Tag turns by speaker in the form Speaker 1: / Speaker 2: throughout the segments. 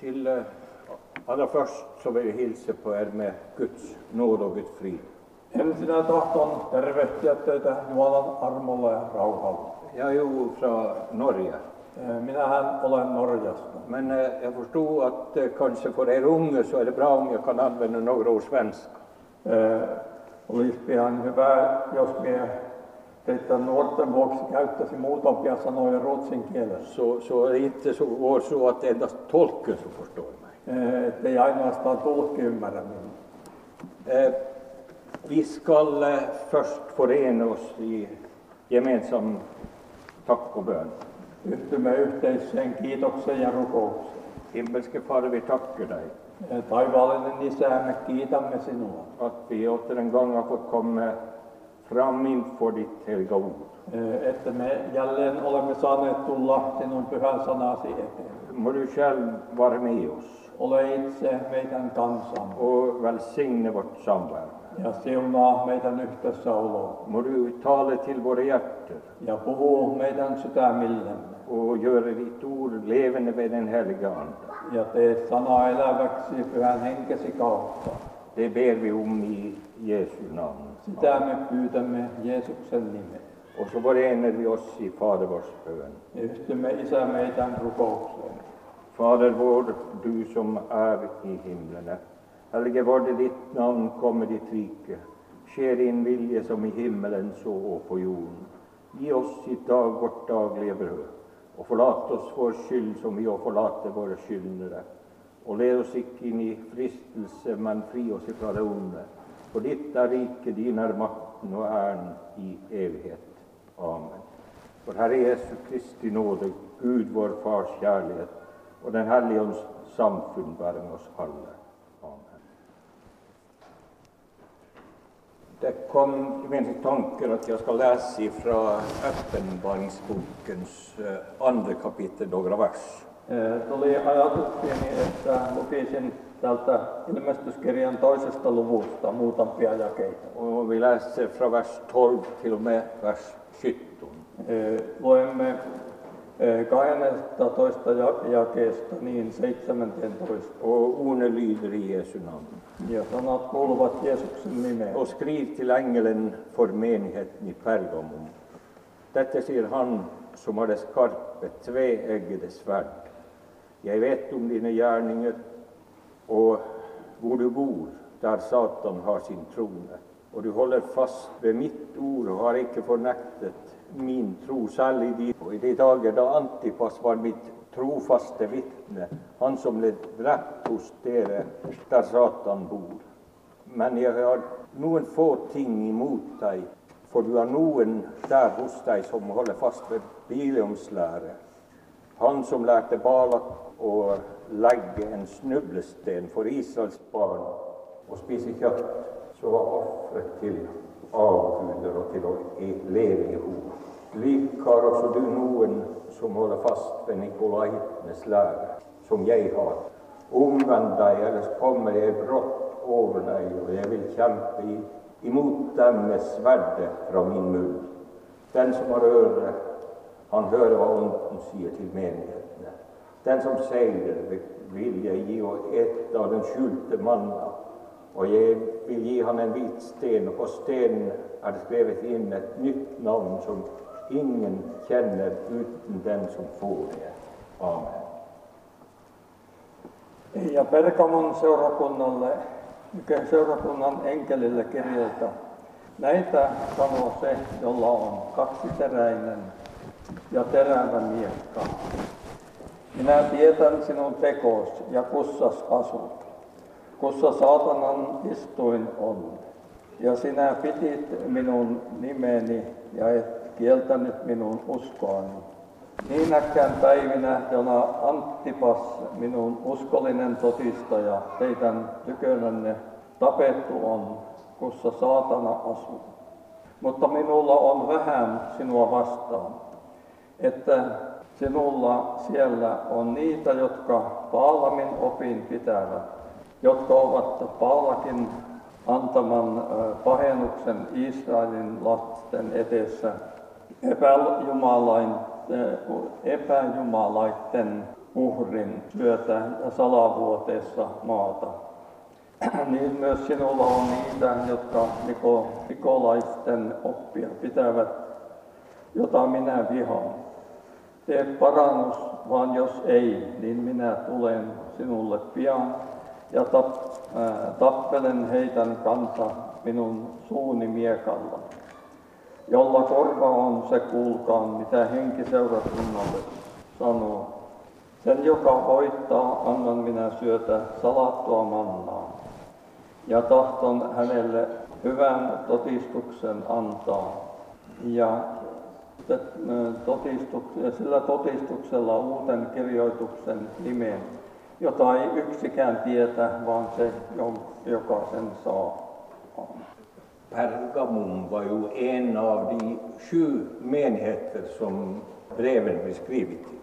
Speaker 1: Til eh, aller først så vil jeg hilse på dere med Guds nåde og Guds frid.
Speaker 2: Ensinnä tahdon tervehtiä teitä Jumalan armolla ja rauhalla.
Speaker 1: Jeg er jo fra Norge,
Speaker 2: Minähän olen Norjasta.
Speaker 1: men eh, jeg forsto at eh, kanskje for dere unge så er det bra om jeg kan anvende noen ord svensk.
Speaker 2: Eh, Olisi ihan hyvä, jos minä teitä nuorten vuoksi käyttäisi muutamia sanoja ruotsin kielessä.
Speaker 1: Så, så er det ikke så, og så at endast tolken som forstår meg.
Speaker 2: Eh, Ettei ainoastaan tulkki ymmärrä minua.
Speaker 1: Eh, vi skal eh, først forene oss i gemensam takk og bønn.
Speaker 2: Yhtymme yhteiseen kiitokseen ja rukoukseen.
Speaker 1: Himmelske Far, vi takker deg
Speaker 2: Eh, Taivaallinen Isä, me kiitämme sinua.
Speaker 1: at vi atter en gang har fått komme fram innenfor ditt helga ord.
Speaker 2: Eh, Että me jälleen olemme saaneet tulla sinun pyhän sanasi eteen.
Speaker 1: Må du selv være med oss
Speaker 2: Ole itse meidän kansamme.
Speaker 1: og velsigne vårt samvær.
Speaker 2: ja siunaa meidän yhdessä oloa
Speaker 1: Må du tale til våre hjerter
Speaker 2: ja puhuu meidän sydämillemme
Speaker 1: og gjøre ditt ord levende ved Den hellige ånd.
Speaker 2: ja tee sana eläväksi pyhän henkesi kautta.
Speaker 1: Det ber vi om i Jesu navn.
Speaker 2: Sitä me pyytämme Jeesuksen nimeen.
Speaker 1: Og så forener vi oss i Fader vårs bønn.
Speaker 2: Ja yhtymme Isä meidän rukoukseen.
Speaker 1: Fader vår, du som er i himlene. Helge varde ditt navn, komme ditt rike. Skje din vilje som i himmelen, så og på jorden. Gi oss i dag vårt daglige brød, og forlat oss vår skyld som vi òg forlater våre skyldnere. Og led oss ikke inn i fristelse, men fri oss ifra det onde. For ditt er riket, din er makten og æren i evighet. Amen. For Herre Jesu Kristi nåde, Gud vår Fars kjærlighet og Den hellige ånds samfunn være med oss alle. Amen. Det kom i mine tanker at jeg skal lese fra Åpenbaringsbokens eh, andre kapittel, noen vers.
Speaker 2: Eh, Tuli ajatukseni, että lukisin tältä ilmestyskirjan toisesta luvusta muutamia jakeita.
Speaker 1: Og vi leser fra vers 12 til og med vers 17.
Speaker 2: Eh, Luemme eh, 12 ja- jakeesta niin 17.
Speaker 1: Og ordene lyder i Jesu navn.
Speaker 2: Ja sanat kuuluvat Jeesuksen nimeen.
Speaker 1: Og skriv til engelen for menigheten i Pergamon. Dette sier han som har det skarpe, tveeggede sverd. Jeg vet om dine gjerninger og hvor du bor, der Satan har sin trone. Og du holder fast ved mitt ord og har ikke fornektet min tro, selv i de, og i de dager da Antipas var mitt trofaste vitne, han som ble drept hos dere der Satan bor. Men jeg har noen få ting imot deg, for du har noen der hos deg som holder fast ved Bileums lære. Han som lærte Balak å legge en snublesten for Israels barn og spise kjøtt, så var offeret til avguder og til å e- leve i hop. Slik har også du noen som holder fast ved Nikolaitenes lære, som jeg har. Omvend deg, ellers kommer jeg brått over deg, og jeg vil kjempe i, imot dem med sverdet fra min munn. Den som har øre, han hører hva Ånden sier til menighetene. Den som seiler, vil jeg gi å ete av den skjulte manna, og jeg vil gi han en hvit sten, og på stenen er det skrevet inn et nytt navn som ingen kjenner uten den som får det. Amen.
Speaker 2: Ja Pergamon seurakunnalle, seurakunnan enkelille kirjoita. Näitä sanoo se, jolla on kaksiteräinen ja terävä miekka. Minä tietän sinun tekos ja kussas asut, kussa saatanan istuin on. Ja sinä pitit minun nimeni ja et kieltänyt minun uskoani. Niinäkään päivinä, jona Anttipas, minun uskollinen todistaja, teidän tykönänne tapettu on, kussa saatana asuu. Mutta minulla on vähän sinua vastaan, että sinulla siellä on niitä, jotka Paalamin opin pitävät, jotka ovat Paalakin antaman ö, pahennuksen Israelin lasten edessä epäjumalain epäjumalaitten uhrin työtä ja salavuoteessa maata. Niin myös sinulla on niitä, jotka niko- nikolaisten oppia pitävät, jota minä vihaan. Tee parannus, vaan jos ei, niin minä tulen sinulle pian ja tap, äh, tappelen heidän kanssa minun suuni miekalla jolla korva on, se kuulkaan, mitä henki seurakunnalle sanoo. Sen, joka voittaa, annan minä syötä salattua mannaa, ja tahton hänelle hyvän totistuksen antaa. Ja t- totistuk- ja sillä totistuksella uuden kirjoituksen nimen, jota ei yksikään tietä, vaan se, jo- joka sen saa.
Speaker 1: Pergamum var ju en av de sju menigheter som breven blir skrivet till.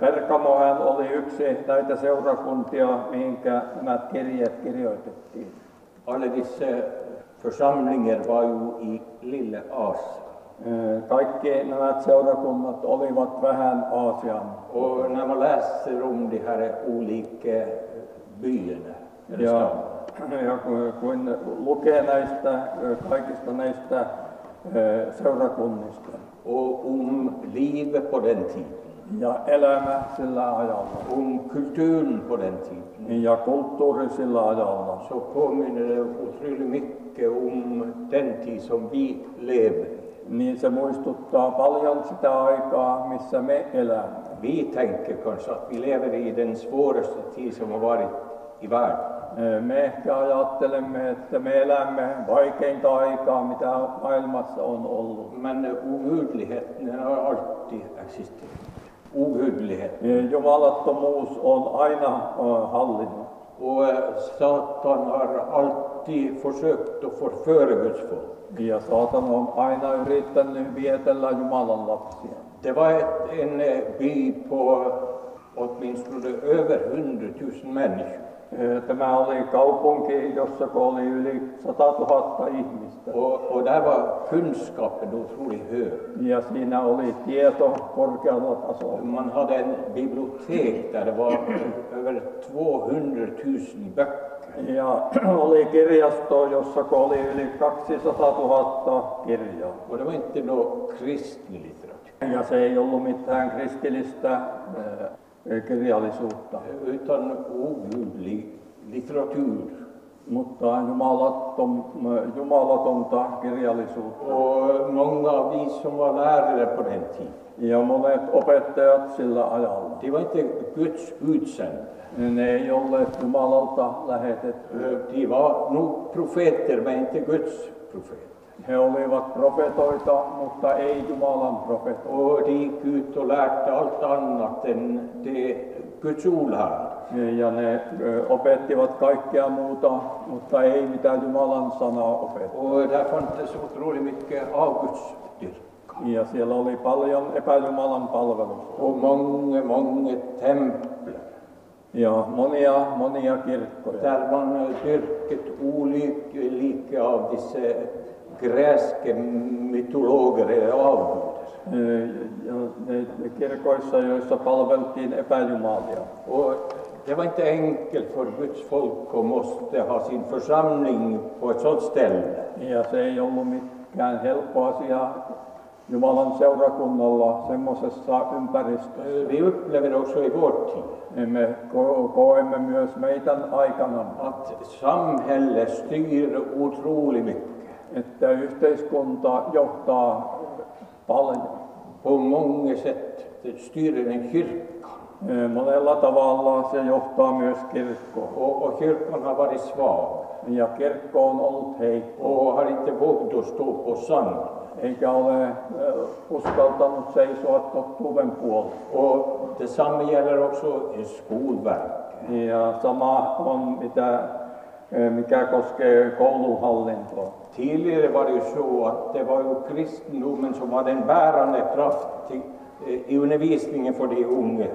Speaker 2: Perkamohan oli yksi näitä seurakuntia, mihinkä nämä kirjeet kirjoitettiin.
Speaker 1: Alla dessa församlingar var ju i Lilla Asien.
Speaker 2: Kaikki nämä seurakunnat olivat vähän Aasian.
Speaker 1: Och när man läser om de här olika byarna, eller
Speaker 2: Ja,
Speaker 1: staden,
Speaker 2: ja kun- kun lukee näistä kaikista näistä ö, seurakunnista
Speaker 1: och om livet på den tiden,
Speaker 2: ja elämä sillä ajalla niin,
Speaker 1: om kulturen på den tiden,
Speaker 2: ja kulttuuri sillä ajalla,
Speaker 1: så påminner det otroligt mycket om den tid som vi lever i.
Speaker 2: niin se muistuttaa paljon sitä aikaa, missä me elämme.
Speaker 1: Vi tänker kanske att vi lever i den svåraste tid som har varit i världen.
Speaker 2: Me ehkä ajattelemme, että me elämme vaikeinta aikaa, mitä maailmassa on ollut.
Speaker 1: Men ogudligheten den har alltid existerat. Ogudlighet.
Speaker 2: Jumalattomuus on aina ö, hallinnut.
Speaker 1: Och eh, Satan har alltid försökt att förföra Guds folk.
Speaker 2: Ja saatan on aina yrittänyt vietellä Jumalan lapsia.
Speaker 1: Det var ett, en eh, by på åtminstone över 100 000 människor.
Speaker 2: Ö, Tämä oli kaupunki, jossa oli yli 100 000 ihmistä.
Speaker 1: Och, och där var kunskapen otroligt hög.
Speaker 2: Ja siinä oli tieto korkealla tasolla.
Speaker 1: Man hade en bibliotek där det var över 200 000 böcker.
Speaker 2: Ja oli kirjasto, jossa oli yli 200 000 kirjaa.
Speaker 1: Och det var inte någon kristen litteratur,
Speaker 2: Ja se ei ollut mitään kristillistä ö, kirjallisuutta,
Speaker 1: utan ogudlig litteratur.
Speaker 2: mutta jumalattom, jumalatonta kirjallisuutta.
Speaker 1: Och många av vi som var lärare på den tiden,
Speaker 2: Ja monet opettajat sillä ajalla,
Speaker 1: de var inte Guds utsända.
Speaker 2: ne ei olleet Jumalalta lähetetty.
Speaker 1: De var nog profeter, men inte Guds profeter.
Speaker 2: He olivat profetoita, mutta ei Jumalan profetoita.
Speaker 1: Och de gick ut och lärde allt annat än det Guds ord här.
Speaker 2: Ja ne ö, opettivat kaikkea muuta, mutta ei mitään Jumalan sanaa opetettu.
Speaker 1: Och där fanns så otroligt mycket avgudsdyrkan.
Speaker 2: Ja siellä oli paljon epäjumalan palvelusta.
Speaker 1: Och många, många tempel
Speaker 2: Ja monia, monia kirkkoja.
Speaker 1: där man dyrket olika av dessa grekiska mytologer eller avgudar.
Speaker 2: Ja ne kirkoissa, joissa palveltiin epäjumalia.
Speaker 1: Och det var inte enkelt för Guds folk att måste ha sin församling på ett sådant ställe.
Speaker 2: Ja se ei ollut mikään helppo asia Jumalan seurakunnalla semmoisessa ympäristössä.
Speaker 1: Eh, Vi upplever också i vår tid
Speaker 2: Me ko- koemme myös meidän aikana,
Speaker 1: att samhället styr otroligt mycket.
Speaker 2: että yhteiskunta johtaa paljon.
Speaker 1: På många sätt Det styr den kyrkan.
Speaker 2: Monella tavalla se johtaa myös kirkkoon.
Speaker 1: Och, och kyrkan har varit svag
Speaker 2: Ja kirkko on ollut heikko.
Speaker 1: och har inte vågat stå på sanningen.
Speaker 2: eikä ole ö, uskaltanut seisoa totuuden puolella.
Speaker 1: Och detsamma gäller också i skolverk.
Speaker 2: Ja sama on, mitä, ö, mikä koskee kouluhallintoa.
Speaker 1: Tidigare var det ju så att det var ju eh, kristendomen som var den bärande kraft i, i undervisningen för de unga.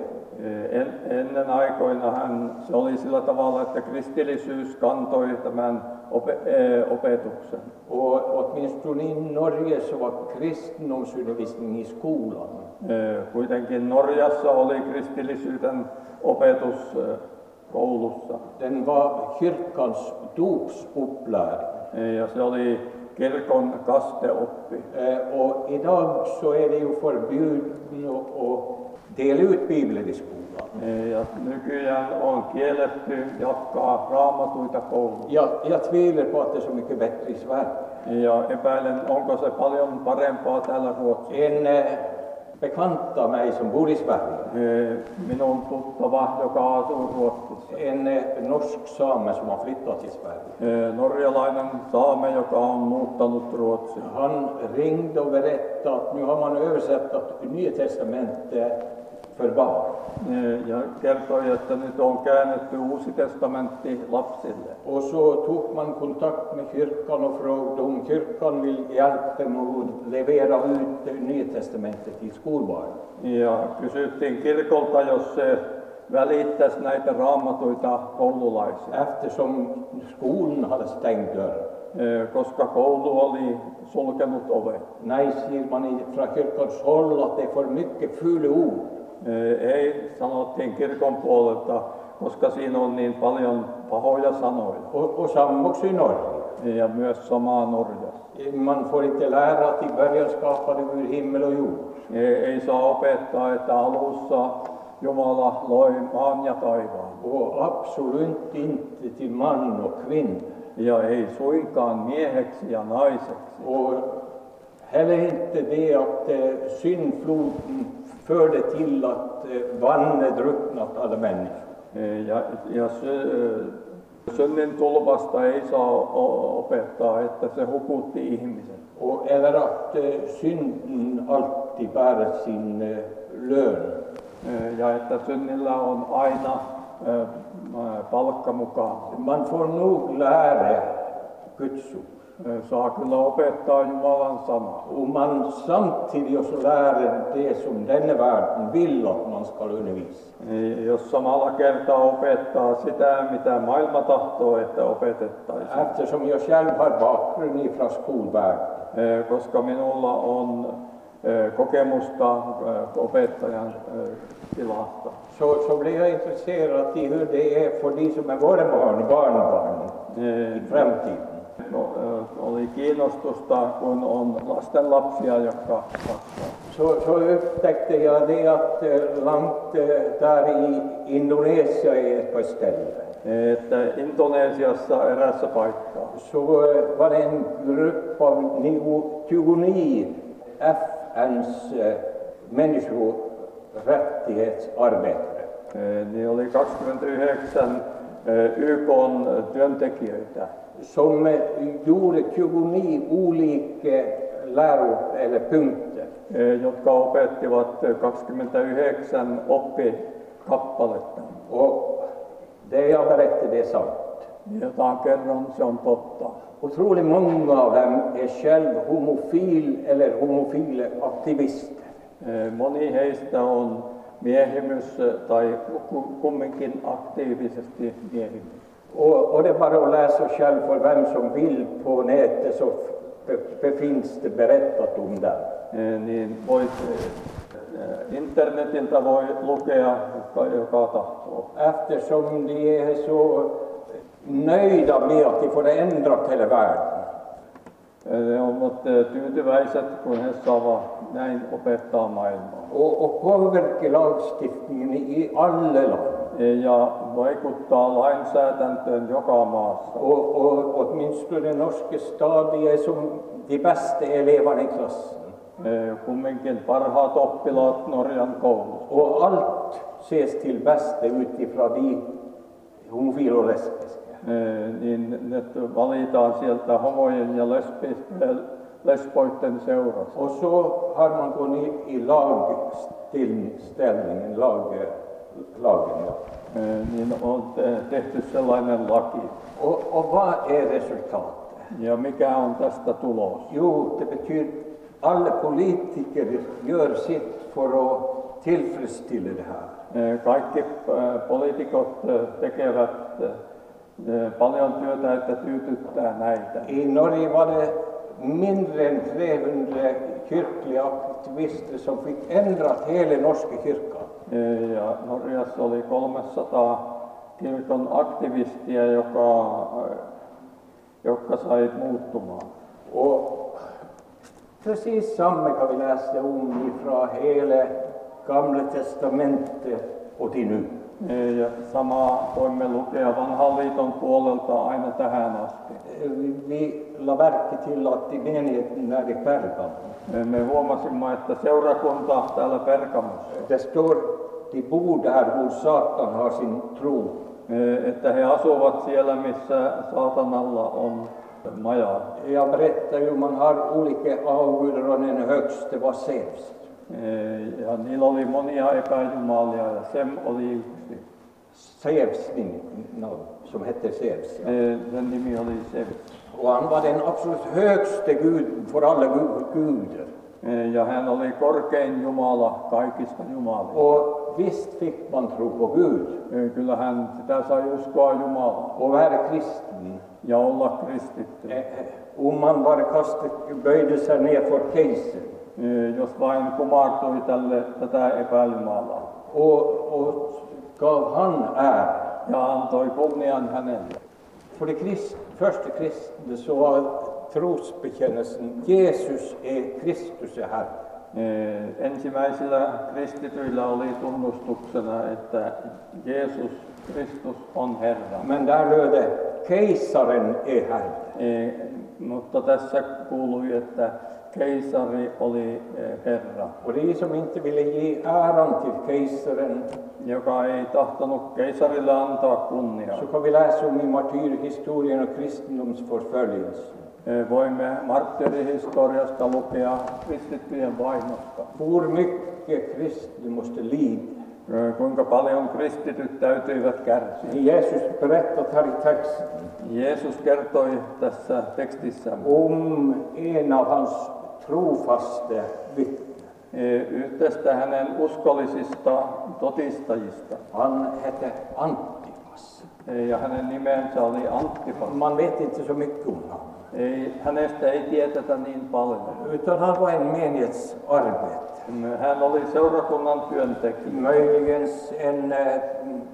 Speaker 2: En- Ennen aikoina hän, se oli sillä tavalla, että kristillisyys kantoi tämän ope- eh, opetuksen.
Speaker 1: Och åtminstone i Norge så var kristendomsundervisning i skolan.
Speaker 2: Eh, Kuitenkin Norjassa oli kristillisyyden opetus eh, koulussa.
Speaker 1: Den var kyrkans dopsuppläring.
Speaker 2: Eh, Ja se oli kirkon kasteoppi.
Speaker 1: Eh, Och idag så är det ju förbjudet att- att dela ut Bibeln i skolan.
Speaker 2: Eh, Ja nykyään on kielletty jakaa raamatuita kouluun. E,
Speaker 1: Jag, jag tvivlar på att det är så mycket bättre i Sverige.
Speaker 2: Ja epäilen, onko se paljon parempaa täällä Ruotsissa.
Speaker 1: En eh, bekant av mig som bor i Sverige,
Speaker 2: Eh, Minun tuttava, joka asuu Ruotsissa.
Speaker 1: en eh, norsk same som har flyttat till Sverige,
Speaker 2: Eh, Norjalainen saame, joka on muuttanut Ruotsiin.
Speaker 1: han ringde och berättade att nu har man översatt Nya Testamentet för barn.
Speaker 2: Eh, Ja kertoi, että nyt on käännetty uusi testamentti lapsille.
Speaker 1: Och så tog man kontakt med kyrkan och frågade om kyrkan vill hjälpa dem att levera ut det Nya Testamentet till skolbarn.
Speaker 2: Ja kysyttiin kirkolta, jos se välittäisi näitä raamatuita koululaisille.
Speaker 1: Eftersom skolan hade stängt dörren.
Speaker 2: Eh, Koska koulu oli sulkenut ovet.
Speaker 1: Nej, säger man i- från kyrkans håll att det är för mycket fula ord.
Speaker 2: Eh, Ei, sanottiin kirkon puolelta, koska siinä on niin paljon pahoja sanoja.
Speaker 1: Och, och samma också i Norge.
Speaker 2: Ja myös samaa Norjassa.
Speaker 1: Man får inte lära att i början skapade Gud himmel och jord.
Speaker 2: Ei, E, ei saa opettaa, että alussa Jumala loi maan ja taivaan.
Speaker 1: Och absolut inte till man och kvinna.
Speaker 2: Ja ei suinkaan mieheksi ja naiseksi.
Speaker 1: Och heller inte det att eh, syndfloden förde till att eh, vattnet drucknat alla människor.
Speaker 2: Ja, ja sy, synnin tulvasta ei saa o- opettaa, että se hukutti ihmisen.
Speaker 1: Och, eller att eh, synden alltid bär sin eh, lön.
Speaker 2: Ja että synnillä on aina ö, ö, palkka mukaan.
Speaker 1: Man får nog lära Guds ord.
Speaker 2: Saa kyllä opettaa Jumalan sanaa.
Speaker 1: Och man samtidigt också lär det som denna världen vill att man ska undervisa.
Speaker 2: Jos samalla kertaa opettaa sitä, mitä maailma tahtoo, että opetettaisiin.
Speaker 1: Eftersom jag själv har bakgrund ifrån skolvärlden
Speaker 2: Eh, koska minulla on eh, kokemusta eh, opettajan eh, tilasta.
Speaker 1: så, så blir jag intresserad i hur det är för de som är våra barn och barnbarn
Speaker 2: Eh,
Speaker 1: i framtiden.
Speaker 2: No, eh, oli kiinnostusta, kun on lasten lapsia, jotka kasvaa.
Speaker 1: Så, så upptäckte jag det att eh, långt eh, där i Indonesien är ett par ställen.
Speaker 2: Eh, Että Indonesiassa erässä paikkaa
Speaker 1: Så eh, var det en grupp av nio- 29 FNs eh, människorättighetsarbetare.
Speaker 2: eh, niin oli 29 eh, YK työntekijöitä,
Speaker 1: som eh, gjorde 29 olika läro eller punkter.
Speaker 2: eh, jotka opettivat eh, 29 oppikappaletta.
Speaker 1: Och det jag berättade det är sant.
Speaker 2: Jotain kerran se on totta.
Speaker 1: Otroligt många av dem är själv homofil eller homofila aktivister.
Speaker 2: Moni heistä on miehimys tai ku- kumminkin aktiivisesti miehimys.
Speaker 1: Och, och det är bara att läsa själv för vem som vill på nätet så be- befinns det berättat om det.
Speaker 2: Niin voit eh, internetiltä voi lukea joka, joka tahtoo.
Speaker 1: Eftersom de är så nöjda med att de får ändrat hela världen.
Speaker 2: Ne ovat eh, tyytyväiset, kun he saavat näin opettaa maailmaa.
Speaker 1: Och, och påverkar lagstiftningen i alla land.
Speaker 2: Eh, Ja vaikuttaa lainsäädäntöön joka maassa.
Speaker 1: Och, och åtminstone norska stadier som de bästa eleverna i klassen.
Speaker 2: Eh, Kumminkin parhaat oppilaat Norjan koulussa.
Speaker 1: Och allt ses till bästa utifrån de homofila och lesbiska.
Speaker 2: Eh, niin ne t- valitaan sieltä homojen ja lesbi, eh, lesboiden seurasta.
Speaker 1: Och så har man gått in i lagställningen, lag, lagen. Ja.
Speaker 2: Eh, niin on te- tehty sellainen laki.
Speaker 1: Och, och vad är resultatet?
Speaker 2: Ja mikä on tästä tulos?
Speaker 1: Jo, det betyder alla politiker gör sitt för att tillfredsställa det här.
Speaker 2: Ö, Kaikki ö, poliitikot ö, tekevät ö, ö, paljon työtä, että tyydyttää näitä.
Speaker 1: I Norge var det mindre än 300 kyrkliga aktivister som fick ändrat hela norska kyrkan.
Speaker 2: Ö, Ja Norjassa oli 300 kirkon aktivistia, joka, ö, jotka sai muuttumaan.
Speaker 1: Och precis samma kan vi läsa om ifrån hela Gamla testamentet och till nu.
Speaker 2: Ja samaa voimme lukea vanhan liiton puolelta aina tähän asti.
Speaker 1: Vi, vi la märke till att i menigheten där i Pergamo,
Speaker 2: Me huomasimme, että seurakunta täällä Pergamossa,
Speaker 1: det står de bor där hvor Satan har sin tro.
Speaker 2: että he asuvat siellä, missä saatanalla on maja.
Speaker 1: Jag berättar ju, man har olika avgudar och den högste var Zeus.
Speaker 2: Ja niillä oli monia epäjumalia ja Sem oli yksi.
Speaker 1: Zeus, min- no, som hette Zeus. Ja.
Speaker 2: e, Sen nimi oli Sevits.
Speaker 1: Och han var den absolut högste guden för alla gu- guder.
Speaker 2: E, Ja hän oli korkein Jumala kaikista Jumalista. E,
Speaker 1: Och visst fick man tro på Gud
Speaker 2: Kyllä hän sitä sai uskoa Jumalaa
Speaker 1: och vara kristen.
Speaker 2: ja olla kristitty. E,
Speaker 1: Eh, eh, Om man bara kastade, böjde sig ner för kejsaren
Speaker 2: jos vain kumartui tälle tätä epäjumalaa
Speaker 1: och, och gav han ära.
Speaker 2: ja antoi kunnian hänelle.
Speaker 1: För de krist, första kristna så var trosbekännelsen Jesus är Kristus är Herre.
Speaker 2: Ee, E, Ensimmäisillä kristityillä oli tunnustuksena, että Jeesus Kristus on Herra.
Speaker 1: Men där löd det Kejsaren är Herre.
Speaker 2: Ee, Mutta tässä kuului, että keisari oli eh, Herra,
Speaker 1: Och de som inte ville ge äran till kejsaren
Speaker 2: joka ei tahtonut keisarille antaa kunniaa.
Speaker 1: så kan vi läsa om i martyrhistorien och kristendomsförföljelsen.
Speaker 2: Ee, E, Voimme marttyyrihistoriasta lukea kristittyjen vainosta.
Speaker 1: Hur mycket kristna måste lida.
Speaker 2: Ee, E, Kuinka paljon kristityt täytyivät kärsiä.
Speaker 1: Jesus berättat här i texten
Speaker 2: Jeesus kertoi tässä tekstissä
Speaker 1: om en av hans trofaste vittnen.
Speaker 2: eh, yhdestä hänen uskollisista todistajista.
Speaker 1: Han hette Antipas.
Speaker 2: Eh, Ja hänen nimensä oli Anttipas.
Speaker 1: Man vet inte så mycket om honom.
Speaker 2: Ei, hänestä ei tiedetä niin paljon.
Speaker 1: Utan han var en menighetsarbetare.
Speaker 2: Hän oli seurakunnan työntekijä.
Speaker 1: Möjligen en eh,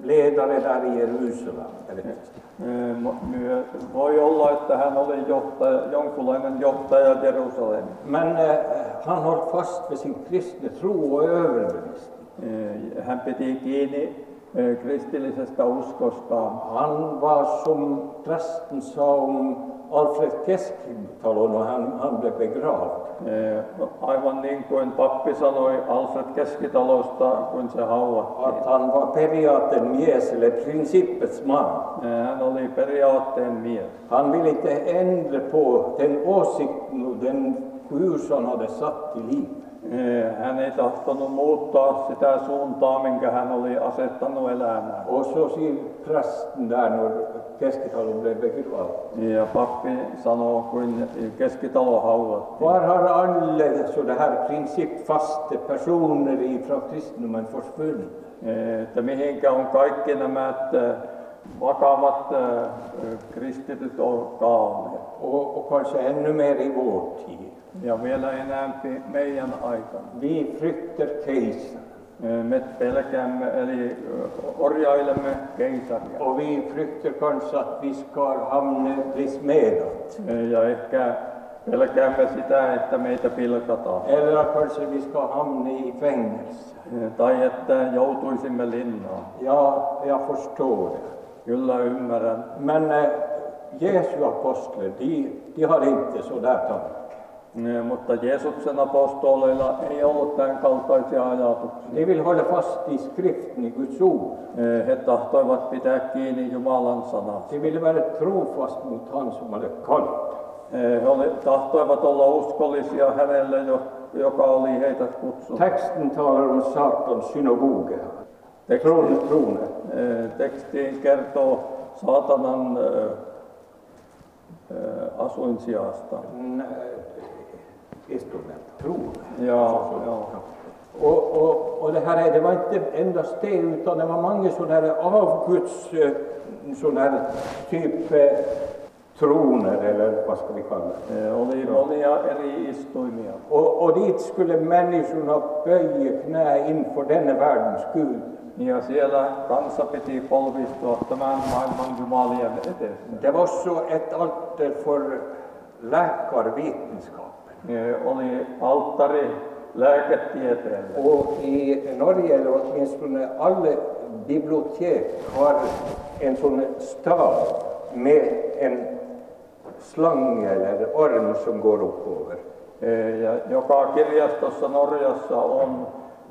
Speaker 1: ledare där i Jerusalem. jag vet inte.
Speaker 2: Eh, mo- myö- Voi olla, että hän oli johtaja, jonkunlainen johtaja Jerusalemin.
Speaker 1: Men eh, han höll fast vid sin kristna tro och överbevisning.
Speaker 2: Eh, Hän piti kiinni eh, kristillisestä uskostaan.
Speaker 1: Han var som prästen sa om Alfred Keskitalo när han, han blev begravd.
Speaker 2: Eh, Aivan niin kuin pappi sanoi Alfred Keskitalosta, kun se haudattiin.
Speaker 1: Att han var periaten mies eller principets man.
Speaker 2: Eh, Hän oli periaatteen mies.
Speaker 1: Han ville inte ändra på den åsikten och den kurs han hade satt i livet.
Speaker 2: Eh, Hän ei tahtonut muuttaa sitä suuntaa, minkä hän oli asettanut elämään.
Speaker 1: Och så ser prästen där när Keskitalo blev begravd.
Speaker 2: Ja pappi sanoo, kun Keskitalo haudattiin.
Speaker 1: Var har alla så det här principfasta personer ifrån kristendomen försvunnit?
Speaker 2: Eh, Että mihinkä on kaikki nämä eh, vakavat eh, kristityt on kaaneet.
Speaker 1: och, och kanske ännu mer i vår tid.
Speaker 2: Ja vielä enämpi meidän aikana.
Speaker 1: Vi fryktar kejsaren
Speaker 2: Eh, Me pelkäämme, eli eh, orjailemme keisaria.
Speaker 1: och vi fryktar kanske att vi ska hamna, bli smedat
Speaker 2: Ja ehkä pelkäämme sitä, että meitä pilkataan.
Speaker 1: eller att kanske vi ska hamna i fängelse.
Speaker 2: Tai että joutuisimme linnaan.
Speaker 1: Ja, jag förstår det.
Speaker 2: Kyllä ymmärrän.
Speaker 1: Men eh, Jesu apostlar, de, de har inte så där tankar.
Speaker 2: Eh, Mutta Jeesuksen apostoleilla ei ollut tämän kaltaisia ajatuksia.
Speaker 1: De vill hålla fast i skriften, i Guds ord.
Speaker 2: Eh, He tahtoivat pitää kiinni Jumalan sanasta.
Speaker 1: De vill vara trofast mot han som hade kallat.
Speaker 2: Eh, He oli, tahtoivat olla uskollisia hänelle, jo- joka oli heitä kutsunut.
Speaker 1: Texten talar om Satans synagoge.
Speaker 2: Teksti,
Speaker 1: Från tronen.
Speaker 2: eh, teksti kertoo saatanan eh, eh, asuinsijasta.
Speaker 1: Mm, eh, instrument, tron.
Speaker 2: Ja, joo.
Speaker 1: Och, och, och det här är- det var inte endast det, utan det var många sådana här avguds, eh, sådana här typ eh, troner, eller vad ska vi kalla det.
Speaker 2: Eh, oli, oli ja eri istuimia.
Speaker 1: Och, och dit skulle människorna böja knä inför denne världens Gud.
Speaker 2: Ja siellä kansa piti polvistua tämän maailman jumalien edessä.
Speaker 1: Det var så ett alter för läkarvetenskapen.
Speaker 2: Eh, oli alttari lääketieteelle.
Speaker 1: Och i Norge, eller åtminstone alla bibliotek, har en sån stav med en slange eller orm som går upp över.
Speaker 2: Eh, ja joka kirjastossa Norjassa on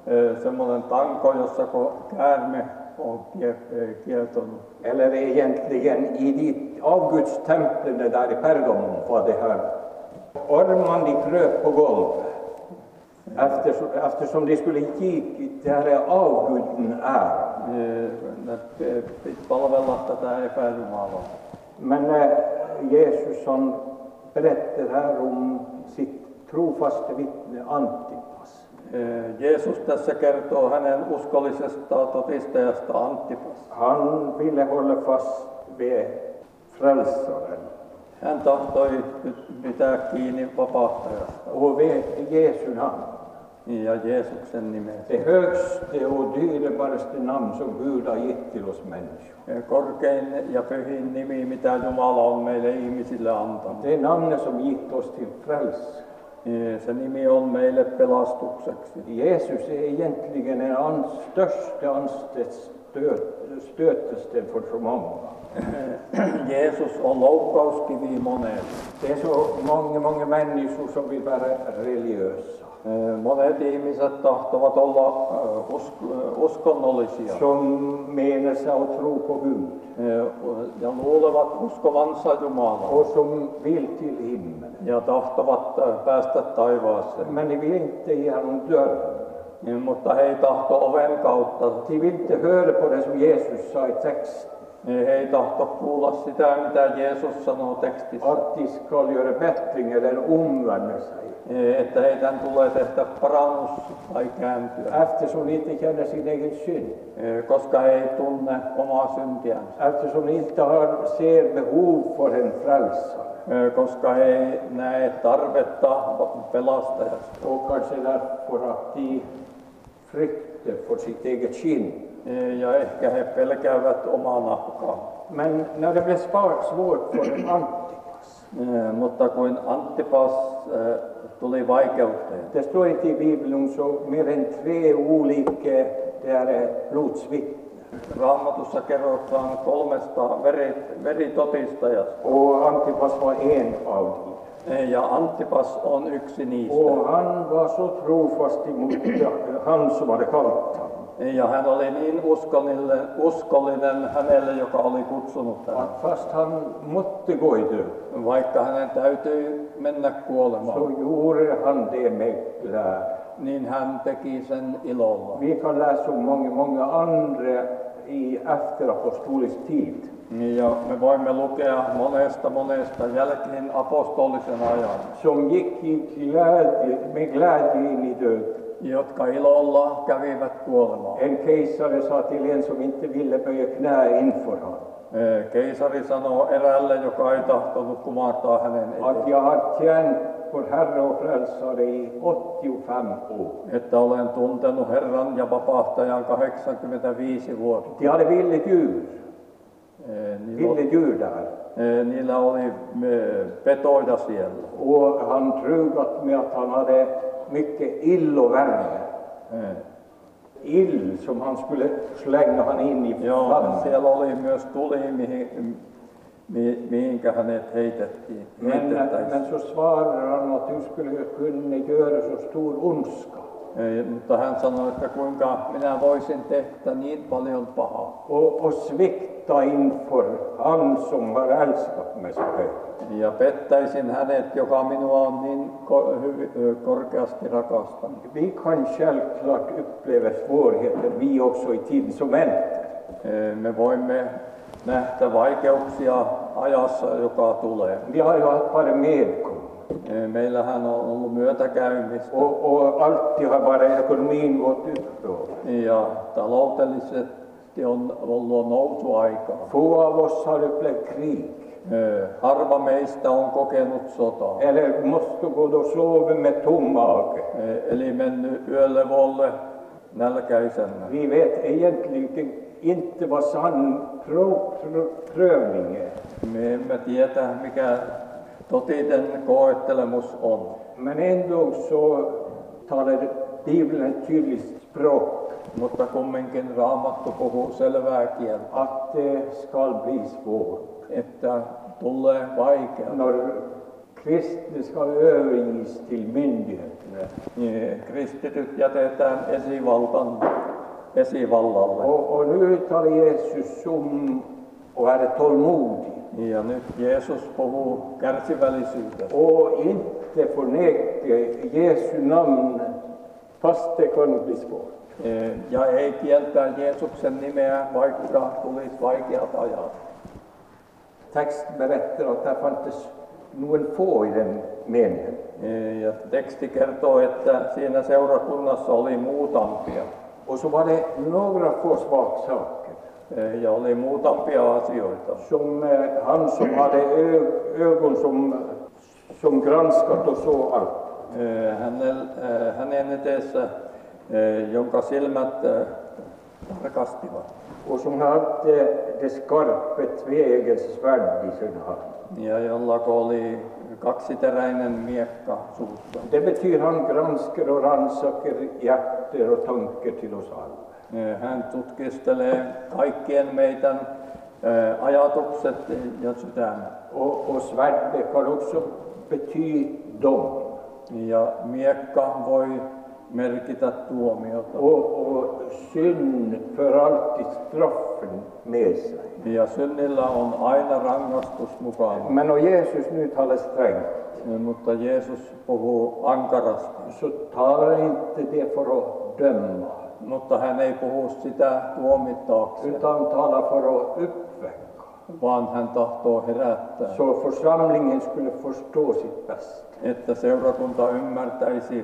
Speaker 2: eh, semmoinen tanko, jossa kun käärme on kie- eh, kietonut.
Speaker 1: Eller egentligen i de avgudstemplen där i Pergamon var det här. Ormarna de kröp på golvet eftersom, eftersom de skulle ge det här avguden ära.
Speaker 2: Eh, ne pi- piti palvella tätä epäjumalaa.
Speaker 1: Men när Jesus han berättar här om sitt trofaste vittne Antipas.
Speaker 2: Eh, Jeesus tässä kertoo hänen uskollisesta todistajasta Antipas.
Speaker 1: Han ville hålla fast vid frälsaren
Speaker 2: Hän tahtoi nyt pitää kiinni vapahtajasta
Speaker 1: och vid Jesu namn.
Speaker 2: ja Jeesuksen nimestä.
Speaker 1: Det högste och dyrbaraste namn som Gud har gett till oss människor.
Speaker 2: Eh, Korkein ja pyhin nimi, mitä Jumala on meille ihmisille antanut.
Speaker 1: Det är namnet som gett oss till frälsning.
Speaker 2: Eh, Se nimi on meille pelastukseksi.
Speaker 1: Jesus är egentligen den an- största anstöt- stötesten för så många.
Speaker 2: Jeesus on loukkauskivi monelle.
Speaker 1: Det är så många, många människor som vill vara religiösa.
Speaker 2: Eh, Monet ihmiset tahtovat olla eh, usk- eh, uskonnollisia
Speaker 1: som menar sig att tro på Gud
Speaker 2: eh, ja luulevat uskovansa Jumalaa
Speaker 1: och som vill till himlen.
Speaker 2: ja tahtovat eh, päästä taivaaseen.
Speaker 1: Men de vill inte genom dörren.
Speaker 2: Niin, Mutta he ei tahto oven kautta,
Speaker 1: De vill inte höra på det som Jesus sa i texten,
Speaker 2: niin he ei tahto kuulla sitä, mitä Jeesus sanoo tekstissä,
Speaker 1: att de ska göra bättring eller omvända sig,
Speaker 2: eh, että heidän tulee tehdä parannus tai kääntyä,
Speaker 1: eftersom de inte känner sin egen synd,
Speaker 2: eh, koska he ei tunne omaa syntiänsä,
Speaker 1: eftersom de inte har, ser behov för en frälsare
Speaker 2: eh, koska he ei näe tarvetta pelastajasta.
Speaker 1: och kanske därför att de fryktar för sitt eget skinn.
Speaker 2: e, Ja ehkä he pelkäävät omaa nahkaa.
Speaker 1: Men när det blev svar- svårt för en Antipas
Speaker 2: Eh, Mutta kuin Antipas eh, tuli vaikeuteen.
Speaker 1: Det står inte i Bibeln om så mer än tre olika där blodsvittnen.
Speaker 2: Raamatussa kerrotaan kolmesta veri, veritotistajasta.
Speaker 1: Och Antipas var en av dem.
Speaker 2: Eh, Ja Antipas on yksi niistä.
Speaker 1: Och han var så trofast emot han som hade kallat honom
Speaker 2: Eh, Ja hän oli niin uskollinen, uskollinen hänelle, joka oli kutsunut hänet.
Speaker 1: att fast han måtte gå i död
Speaker 2: Vaikka hänen täytyi mennä
Speaker 1: så
Speaker 2: kuolemaan,
Speaker 1: gjorde han det med glädje.
Speaker 2: niin hän teki sen ilolla.
Speaker 1: Vi kan läsa om många, många andra i efterapostolisk tid
Speaker 2: Niin Ja me voimme lukea monesta monesta jälkeen apostolisen ajan.
Speaker 1: som gick i glädje, med glädje in i döden.
Speaker 2: jotka ilolla kävivät kuolemaan.
Speaker 1: En kejsare sa till en som inte ville böja knä inför honom
Speaker 2: Ee, E, Keisari sanoo eräälle, joka ei tahtonut kumartaa hänen
Speaker 1: att
Speaker 2: eteen,
Speaker 1: jag har tjänat vår Herre och Frälsare i 85 år.
Speaker 2: että olen tuntenut Herran ja vapahtajan 85 vuotta.
Speaker 1: De hade villedjur,
Speaker 2: Ee, Niillä, oli-
Speaker 1: villedjur där.
Speaker 2: ee, niillä oli ee, petoja siellä.
Speaker 1: Och han trugat med att han hade mycket ill och värme.
Speaker 2: Ee,
Speaker 1: Ill som han skulle slänga han in i
Speaker 2: Joo,
Speaker 1: famnen.
Speaker 2: siellä oli myös tuli, mihin, mi, mihinkä hänet heitettiin.
Speaker 1: Men, men
Speaker 2: heitettäisiin.
Speaker 1: så svarar han att du skulle kunna göra så stor ondska.
Speaker 2: Ee, Mutta hän sanoi, että kuinka minä voisin tehdä niin paljon pahaa.
Speaker 1: Och, och svikta inför han som har älskat mig så högt.
Speaker 2: Ja pettäisin hänet, joka minua on niin ko- hyvi- ö, korkeasti rakastanut.
Speaker 1: Vi kan självklart uppleva svårigheter vi också i tiden som väntar.
Speaker 2: Ee, Me voimme nähdä vaikeuksia ajassa, joka tulee.
Speaker 1: Vi har ju haft bara medkommor.
Speaker 2: Meillähän on ollut myötäkäymistä
Speaker 1: Och, och alltid har bara ekonomin gått uppåt.
Speaker 2: ja taloudellisesti on ollut nousuaikaa.
Speaker 1: Få av oss har upplevt krig.
Speaker 2: Ö, Harva meistä on kokenut sotaa,
Speaker 1: Eller måste gå och sova med tom mage.
Speaker 2: Ö, eli mennyt yöllevolle nälkäisenä.
Speaker 1: Vi vet egentligen inte vad sann prov, prov, prövning är.
Speaker 2: Me emme tiedä, mikä totinen koettelemus on,
Speaker 1: Men ändå så talar Bibeln ett tydligt språk
Speaker 2: mutta kumminkin Raamattu puhuu selvää kieltä,
Speaker 1: att det ska bli svårt.
Speaker 2: että tulee vaikea.
Speaker 1: När kristna ska överges till myndigheterna
Speaker 2: Niin, Kristityt jätetään esivaltan, esivallalle.
Speaker 1: Och, och nu tar Jesus som och är tålmodig
Speaker 2: Ja nyt Jeesus puhuu kärsivällisyydestä.
Speaker 1: och inte förnekar Jesu namn fast det kan bli svårt.
Speaker 2: Eh, Ja ei kieltää Jeesuksen nimeä, vaikka tulisi vaikeat ajat.
Speaker 1: Texten berättar att det fanns någon få i den meningen.
Speaker 2: Eh, Ja teksti kertoo, että siinä seurakunnassa oli muutampia.
Speaker 1: Och så var det några få svagsaker
Speaker 2: Eh, Ja oli muutampia asioita.
Speaker 1: som eh, han som hade ö- ögon som, som granskat och så allt.
Speaker 2: Eh, Hänel, eh, hänen eteessä, eh, jonka silmät eh, tarkastivat.
Speaker 1: Och som hade det skarpa tvegels svärd i sin hand.
Speaker 2: ja jollako oli kaksiteräinen miekka suussa.
Speaker 1: Det betyder han granskar och rannsakar hjärtan och tankar till oss alla.
Speaker 2: Eh, Hän tutkistelee kaikkien meidän eh, ajatukset ja sydämet.
Speaker 1: Och, och svärdet kan också betyda dom.
Speaker 2: Ja miekka voi merkitä tuomiota
Speaker 1: Och, och synd för alltid straffen med sig.
Speaker 2: ja synnillä on aina rangaistus mukana. Eh,
Speaker 1: Men om Jesus nu talar strängt
Speaker 2: Mutta Jeesus puhuu ankarasti,
Speaker 1: så talar han inte det för att döma
Speaker 2: mutta hän ei puhu sitä tuomittaakseen,
Speaker 1: utan han talar för att uppväcka.
Speaker 2: vaan hän tahtoo herättää,
Speaker 1: Så församlingen skulle förstå sitt bästa.
Speaker 2: että seurakunta ymmärtäisi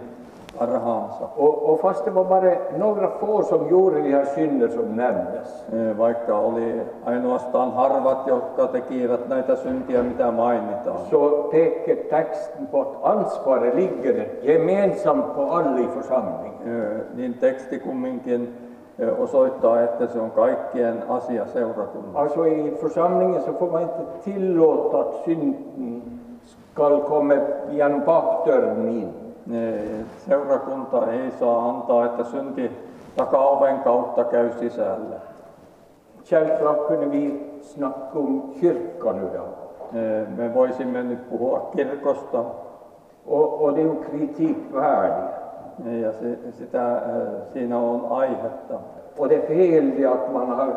Speaker 2: parhaansa.
Speaker 1: Och, och fast det var bara några få som gjorde de här synder som nämndes
Speaker 2: Vaikka oli ainoastaan harvat, jotka tekivät näitä syntiä, mitä mainitaan,
Speaker 1: så pekar texten på att ansvaret ligger gemensamt på alla i församlingen.
Speaker 2: niin teksti kumminkin e, osoittaa, että se on kaikkien asia seurakunnassa.
Speaker 1: Alltså Altså, i församlingen så får man inte tillåta att synden ska komma genom bakdörren in.
Speaker 2: Seurakunta ei saa antaa, että synti takaoven kautta käy sisälle.
Speaker 1: Självklart kunde vi snacka om kyrkan idag.
Speaker 2: Me voisimme nyt puhua kirkosta,
Speaker 1: Och, och det är ju kritikvärdigt.
Speaker 2: Niin, ja se- sitä, eh, siinä on aihetta.
Speaker 1: Och det är fel det att man har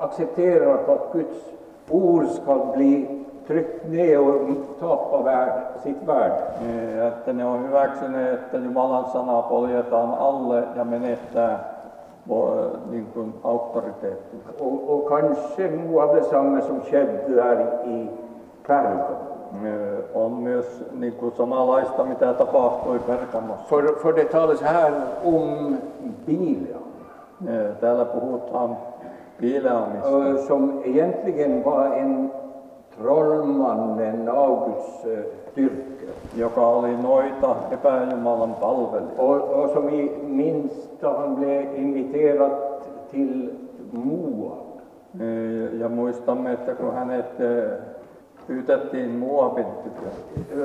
Speaker 1: accepterat att Guds ord ska bli tryckt ner och tappa värde, sitt värde.
Speaker 2: Niin, Ja että ne on hyväksyneet, että Jumalan sanaa poljetaan alle ja menettää vo- niin kuin auktoriteetti.
Speaker 1: Och, och kanske något av detsamma som skedde där i Pergamon.
Speaker 2: Ö, Niin, On myös niin kuin samanlaista, mitä tapahtui Pergamossa.
Speaker 1: För, för det talas här om Bileam,
Speaker 2: Ö, Niin, Täällä puhutaan piileamista,
Speaker 1: eh, som egentligen var en trollman, en avgudsdyrker.
Speaker 2: joka oli noita epäjumalan palvelija.
Speaker 1: Och, och som vi minns då han blev inviterad till Moab.
Speaker 2: Ö, Niin, Ja muistamme, että kun hänet ö, pyytettiin Muabin tykö,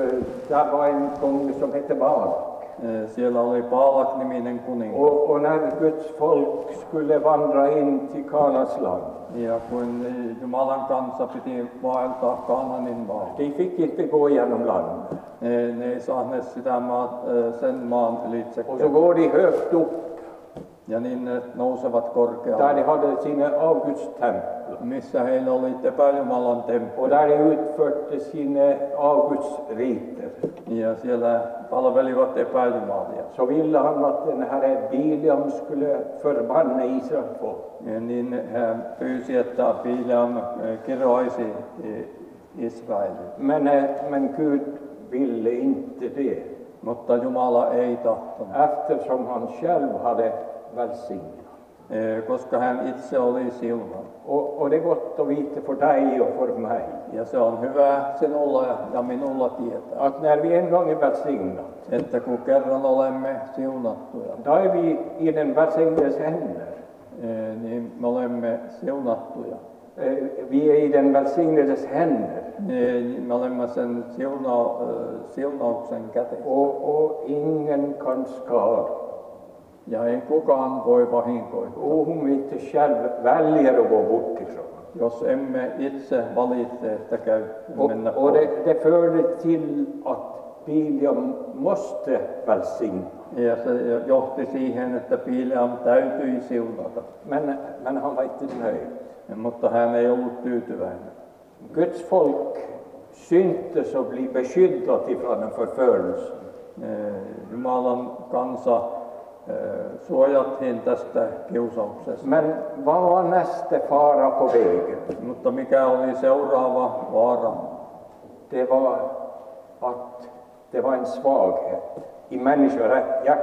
Speaker 1: Eh, Där var en kung som hette Balak.
Speaker 2: ö, niin siellä oli Paalak-niminen kuningas.
Speaker 1: Och, och när Guds folk skulle vandra in till Kanas land,
Speaker 2: Ja kun Jumalan kanssa piti vaeltaa Kaananin maan,
Speaker 1: de fick inte gå igenom landet.
Speaker 2: ne, niin ne ei saaneet sitä maa, eh, sen maan ylitse.
Speaker 1: Och så går de högt upp
Speaker 2: Ja niin ne nousevat
Speaker 1: där de
Speaker 2: korkealle,
Speaker 1: hade sina avgudstempel.
Speaker 2: missä heillä oli epäjumalan
Speaker 1: Och
Speaker 2: temppeli.
Speaker 1: där de utförde sina avgudsriter
Speaker 2: Ja siellä palvelivat epäjumalia.
Speaker 1: så ville han att den här Biliam skulle förbanna Israels folk.
Speaker 2: Ja niin hän pyysi, että Bileam eh, kiroisi eh, Israelin.
Speaker 1: Men, eh, men Gud ville inte det,
Speaker 2: mutta Jumala ei tahtonut,
Speaker 1: eftersom han själv hade välsignat.
Speaker 2: eh, koska hän itse oli sillan.
Speaker 1: Och, och det är gott och vite för dig och för mig,
Speaker 2: Ja se on hyvä sinulla ja- ja minulla tietää,
Speaker 1: att när vi en gång är välsignade,
Speaker 2: että kun kerran olemme siunattuja,
Speaker 1: då är vi i den välsignades händer.
Speaker 2: eh, niin me olemme siunattuja.
Speaker 1: Eh, Vi är i den välsignades händer.
Speaker 2: Niin me olemme sen siuna, eh, siunauksen käteen.
Speaker 1: Och, och ingen kan skada.
Speaker 2: Ja ei kukaan voi vahinkoittaa,
Speaker 1: Och om vi inte själv väljer att gå bort ifrån.
Speaker 2: jos emme itse valitse, että käy mennä
Speaker 1: Och, och
Speaker 2: pois.
Speaker 1: det, det förde till att Biliam måste välsigna.
Speaker 2: Ja se johti siihen, että Piileam täytyi siunata, Eh,
Speaker 1: Men, men han var inte nöjd.
Speaker 2: mutta hän ei ollut tyytyväinen.
Speaker 1: Guds folk syntes och bli beskyddat ifrån en förförelse.
Speaker 2: Eh, Jumalan kansa eh, suojattiin tästä kiusauksesta.
Speaker 1: Men vad var nästa fara på vägen?
Speaker 2: Mutta mikä oli seuraava vaara?
Speaker 1: Det var att det var en svaghet i människohjärtat.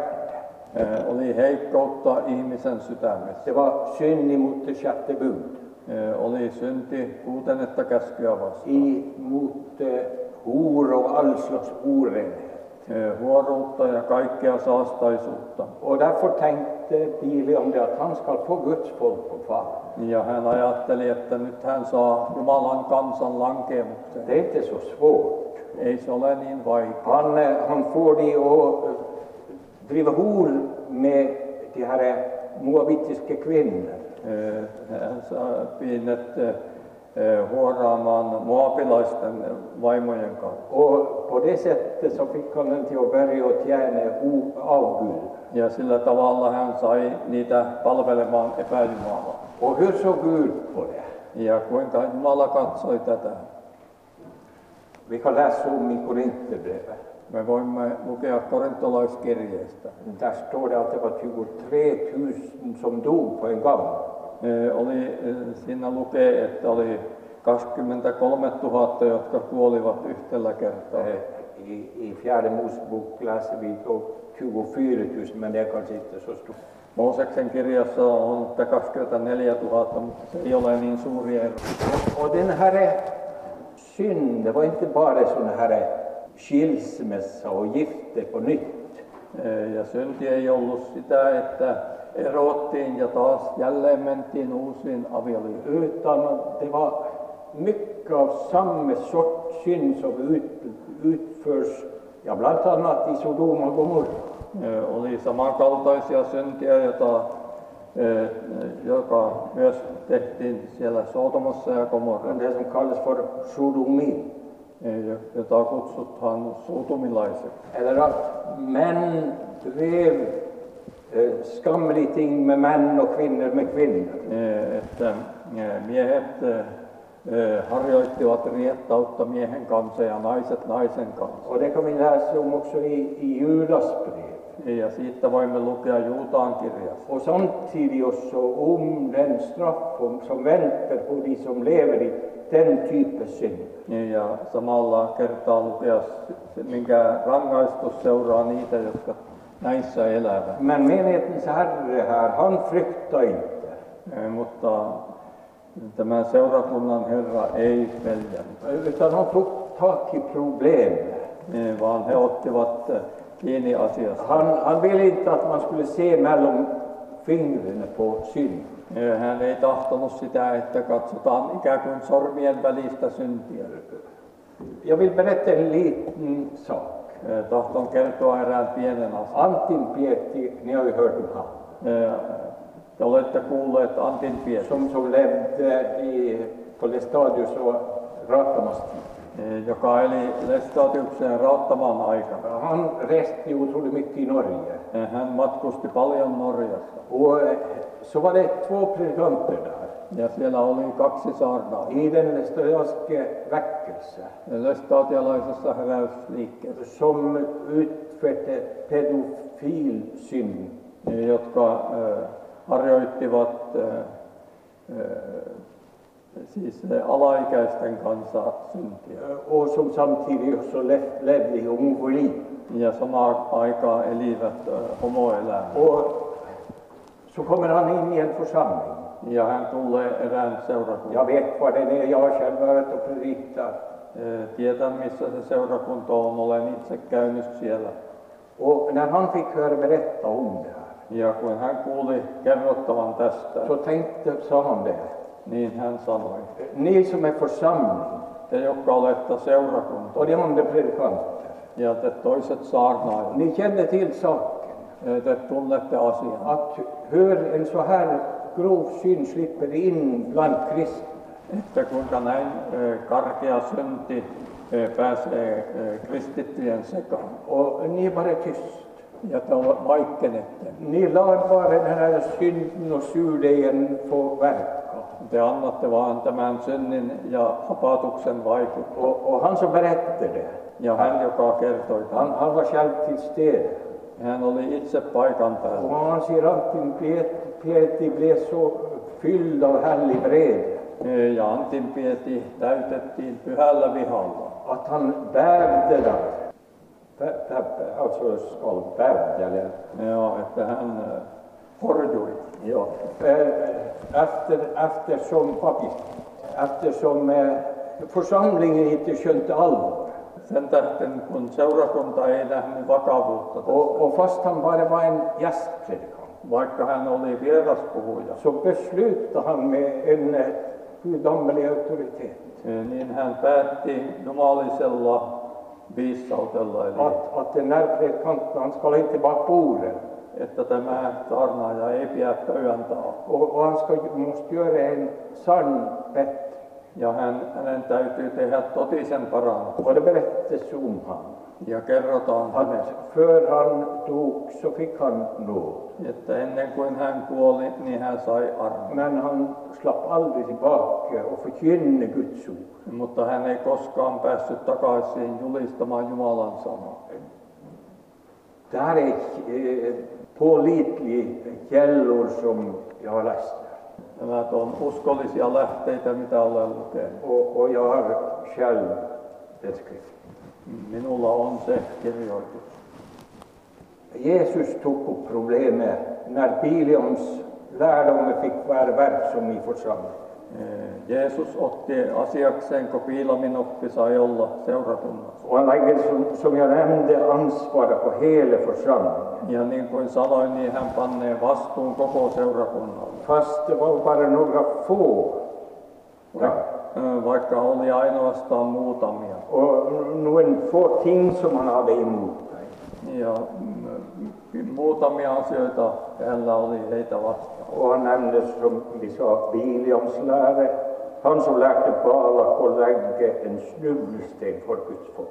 Speaker 2: Eh, Oli heikkoutta ihmisen sydämessä.
Speaker 1: Det var synd emot det sjätte budet.
Speaker 2: Eh, Oli synti kuutennetta käskyä vastaan.
Speaker 1: emot eh, hor och all slags orenhet.
Speaker 2: Eh, Huoruutta ja kaikkea saastaisuutta.
Speaker 1: Och därför tänkte Bileam det att han ska få Guds folk på fall.
Speaker 2: Ja hän ajatteli, että nyt hän saa Jumalan kansan lankemukseen.
Speaker 1: Det är inte så svårt.
Speaker 2: Ei se ole niin vaikea.
Speaker 1: Han, eh, han får de att eh, driva hor med de här eh, moabitiska kvinnorna.
Speaker 2: Eh, Hän saa pienet eh, eh, huoraamaan moapilaisten vaimojen kanssa.
Speaker 1: Och på det sättet så fick han den till att börja att tjäna o- avgud.
Speaker 2: Ja sillä tavalla hän sai niitä palvelemaan epäjumalaa.
Speaker 1: Och hur såg Gud på det?
Speaker 2: Ja kuinka Jumala katsoi tätä?
Speaker 1: Vi kan läsa om i Korinthierbrevet.
Speaker 2: Me voimme lukea korintolaiskirjeestä.
Speaker 1: Där står det att det var 23 000 som dog på en gång.
Speaker 2: Eh, Oli, eh, siinä lukee, että oli 23 000, jotka kuolivat yhdellä kertaa.
Speaker 1: Eh, I, I fjärde Mosebok läser vi då 24 000, men det är kanske inte så stort.
Speaker 2: Mooseksen kirjassa on, että 24 000, mutta se ei ole niin suuri ero.
Speaker 1: Och den här synd, det var inte bara sån här skilsmässa och gifte på nytt.
Speaker 2: Eh, Ja synti ei ollut sitä, että erottiin ja taas jälleen mentiin uusiin avioliittoihin.
Speaker 1: Utan det var mycket av samma sorts synd som ut, utförs, ja bland annat i Sodom och Gomorra.
Speaker 2: Eh, Oli samankaltaisia syntiä, jota, eh, joka myös tehtiin siellä Sotomassa ja Gomorrassa,
Speaker 1: Det som kallas för sodomi.
Speaker 2: eh, jo- jota kutsutaan sotomilaiseksi.
Speaker 1: Eller att män drev eh, skamliga ting med män och kvinnor med kvinnor.
Speaker 2: Eh, Että eh, miehet eh, eh, harjoittivat riettautta miehen kanssa ja naiset naisen kanssa.
Speaker 1: Och det kan vi läsa om också i, i Judas brev.
Speaker 2: Eh, Ja siitä voimme lukea Juutaan kirjassa.
Speaker 1: Och samtidigt också om den straff om- som väntar på de som lever i den typen synd.
Speaker 2: Niin, ja samalla kertaa lukea, se, minkä rangaistus seuraa niitä, jotka näissä elävät.
Speaker 1: Men menighetens herre här, han fruktar inte.
Speaker 2: Ei, Eh, mutta tämä seurakunnan Herra ei peljännyt,
Speaker 1: Utan han tog tag i problemet.
Speaker 2: Ei, Eh, vaan he ottivat eh, kiinni asiasta.
Speaker 1: Han, han ville inte att man skulle se mellan fingrarna på synd.
Speaker 2: Ei, Hän ei tahtonut sitä, että katsotaan ikään kuin sormien välistä syntiä.
Speaker 1: Jag vill berätta en liten sak.
Speaker 2: Ei, Tahton kertoa erään pienen asian.
Speaker 1: Antin Pieti, ni har ju hört om han,
Speaker 2: Ei, Te olette kuulleet Antin Pietistä,
Speaker 1: som, som levde i, på Lestadius och Ratamas tid.
Speaker 2: ei, joka eli Lestadiuksen rauttamaan aikana.
Speaker 1: Han reste ju otroligt mycket i Norge.
Speaker 2: Hän matkusti paljon Norjassa
Speaker 1: Och eh, så var det två predikanter där,
Speaker 2: ja siellä oli kaksi saarnaa.
Speaker 1: i den lestadianska väckelse,
Speaker 2: Löstaatialaisessa heräysliikkeessä,
Speaker 1: som utförde pedofilsynd.
Speaker 2: jotka ö, harjoittivat ö, ö, siis eh, alaikäisten kanssa syntiä.
Speaker 1: och som samtidigt också lev- levde i homofili.
Speaker 2: Ja samaan aikaan elivät eh, homoelämää.
Speaker 1: Och så kommer han in i en församling.
Speaker 2: Ja hän tulee erään
Speaker 1: Jag
Speaker 2: seurakuntaan.
Speaker 1: vet vad den är, jag har själv varit och predikat.
Speaker 2: Eh, Tiedän, missä se seurakunta on. Olen itse käynyt siellä.
Speaker 1: Och när han fick höra berätta om det här,
Speaker 2: Ja kun hän kuuli kerrottavan tästä,
Speaker 1: så tänkte, sa han det,
Speaker 2: niin hän sanoi,
Speaker 1: ni som är församling
Speaker 2: te jotka olette seurakunta
Speaker 1: och de andra predikanter,
Speaker 2: ja te toiset saarnaajat,
Speaker 1: ni känner till saken.
Speaker 2: eh, te tunnette asian.
Speaker 1: Att hur en så här grov syn slipper in bland kristna,
Speaker 2: Että kuinka näin eh, karkea synti eh, pääsee eh, kristittyjen sekaan.
Speaker 1: och ni är bara tyst.
Speaker 2: Ja te ole- vaikkenette.
Speaker 1: Ni lar bara den här synden och surdegen få verka.
Speaker 2: Te annatte vaan tämän synnin ja hapatuksen vaikuttaa.
Speaker 1: Och, och han som berättade det,
Speaker 2: Ja hän, joka kertoi
Speaker 1: han,
Speaker 2: tämän,
Speaker 1: han var själv till stede.
Speaker 2: hän oli itse paikan
Speaker 1: Och
Speaker 2: päällä.
Speaker 1: han säger alltid Piet- Pieti blev så fylld av härlig vrede
Speaker 2: Eh, Ja Antin pieti täytettiin pyhällä vihalla.
Speaker 1: att han bävde där. Bä- bä- Alltså skalv, bävde eller?
Speaker 2: Joo, että hän eh, horjui. Joo.
Speaker 1: Eh, Efter, eftersom, pappi, eftersom eh, församlingen inte skönte allvar.
Speaker 2: Sen tähden, kun seurakunta ei nähnyt vakavuutta, tässä,
Speaker 1: Och, och fast han bara var en gästpredikant
Speaker 2: vaikka hän oli vieraspuhuja,
Speaker 1: så beslutade han med en eh, gudomlig auktoritet
Speaker 2: eh, niin hän päätti jumalisella viisautella, eli
Speaker 1: att, att den här predikanten, han ska inte vara på ordet.
Speaker 2: että tämä saarnaaja ei pidä pöydän taa.
Speaker 1: Och, och han ska, måste göra en sann bättring.
Speaker 2: Ja hän, hänen täytyy tehdä totisen parannus.
Speaker 1: Och det berättas om han.
Speaker 2: Ja kerrotaan hänestä,
Speaker 1: Att för han dog så fick han nåd.
Speaker 2: että ennen kuin hän kuoli, niin hän sai armon.
Speaker 1: Men han slapp aldrig tillbaka och förkynne Guds ord.
Speaker 2: Mutta hän ei koskaan päässyt takaisin julistamaan Jumalan sanaa.
Speaker 1: Det här är eh, pålitliga källor som jag har läst.
Speaker 2: Nämä on uskollisia lähteitä, mitä olen lukenut.
Speaker 1: Och, och jag har själv den skriften.
Speaker 2: Minulla on se kirjoitus.
Speaker 1: Jesus tog upp problemet när Bileams lärdomar fick vara verksam i församlingen.
Speaker 2: Ee, Jeesus otti asiakseen, kun Piilamin oppi sai olla seurakunnassa.
Speaker 1: Och han lägger, som, som jag nämnde, ansvaret på hela församlingen.
Speaker 2: Ja niin kuin sanoin, niin hän pannee vastuun koko seurakunnalle.
Speaker 1: Fast det var bara några få. Ja.
Speaker 2: Ö, Vaikka oli ainoastaan muutamia.
Speaker 1: Och någon få ting som han hade emot mig.
Speaker 2: Ja mm, muutamia asioita hänellä oli heitä vastaan.
Speaker 1: Och han nämnde, som vi sa, Bileams lära. Han som lärde Balak att lägga en snubbelsten för Guds folk.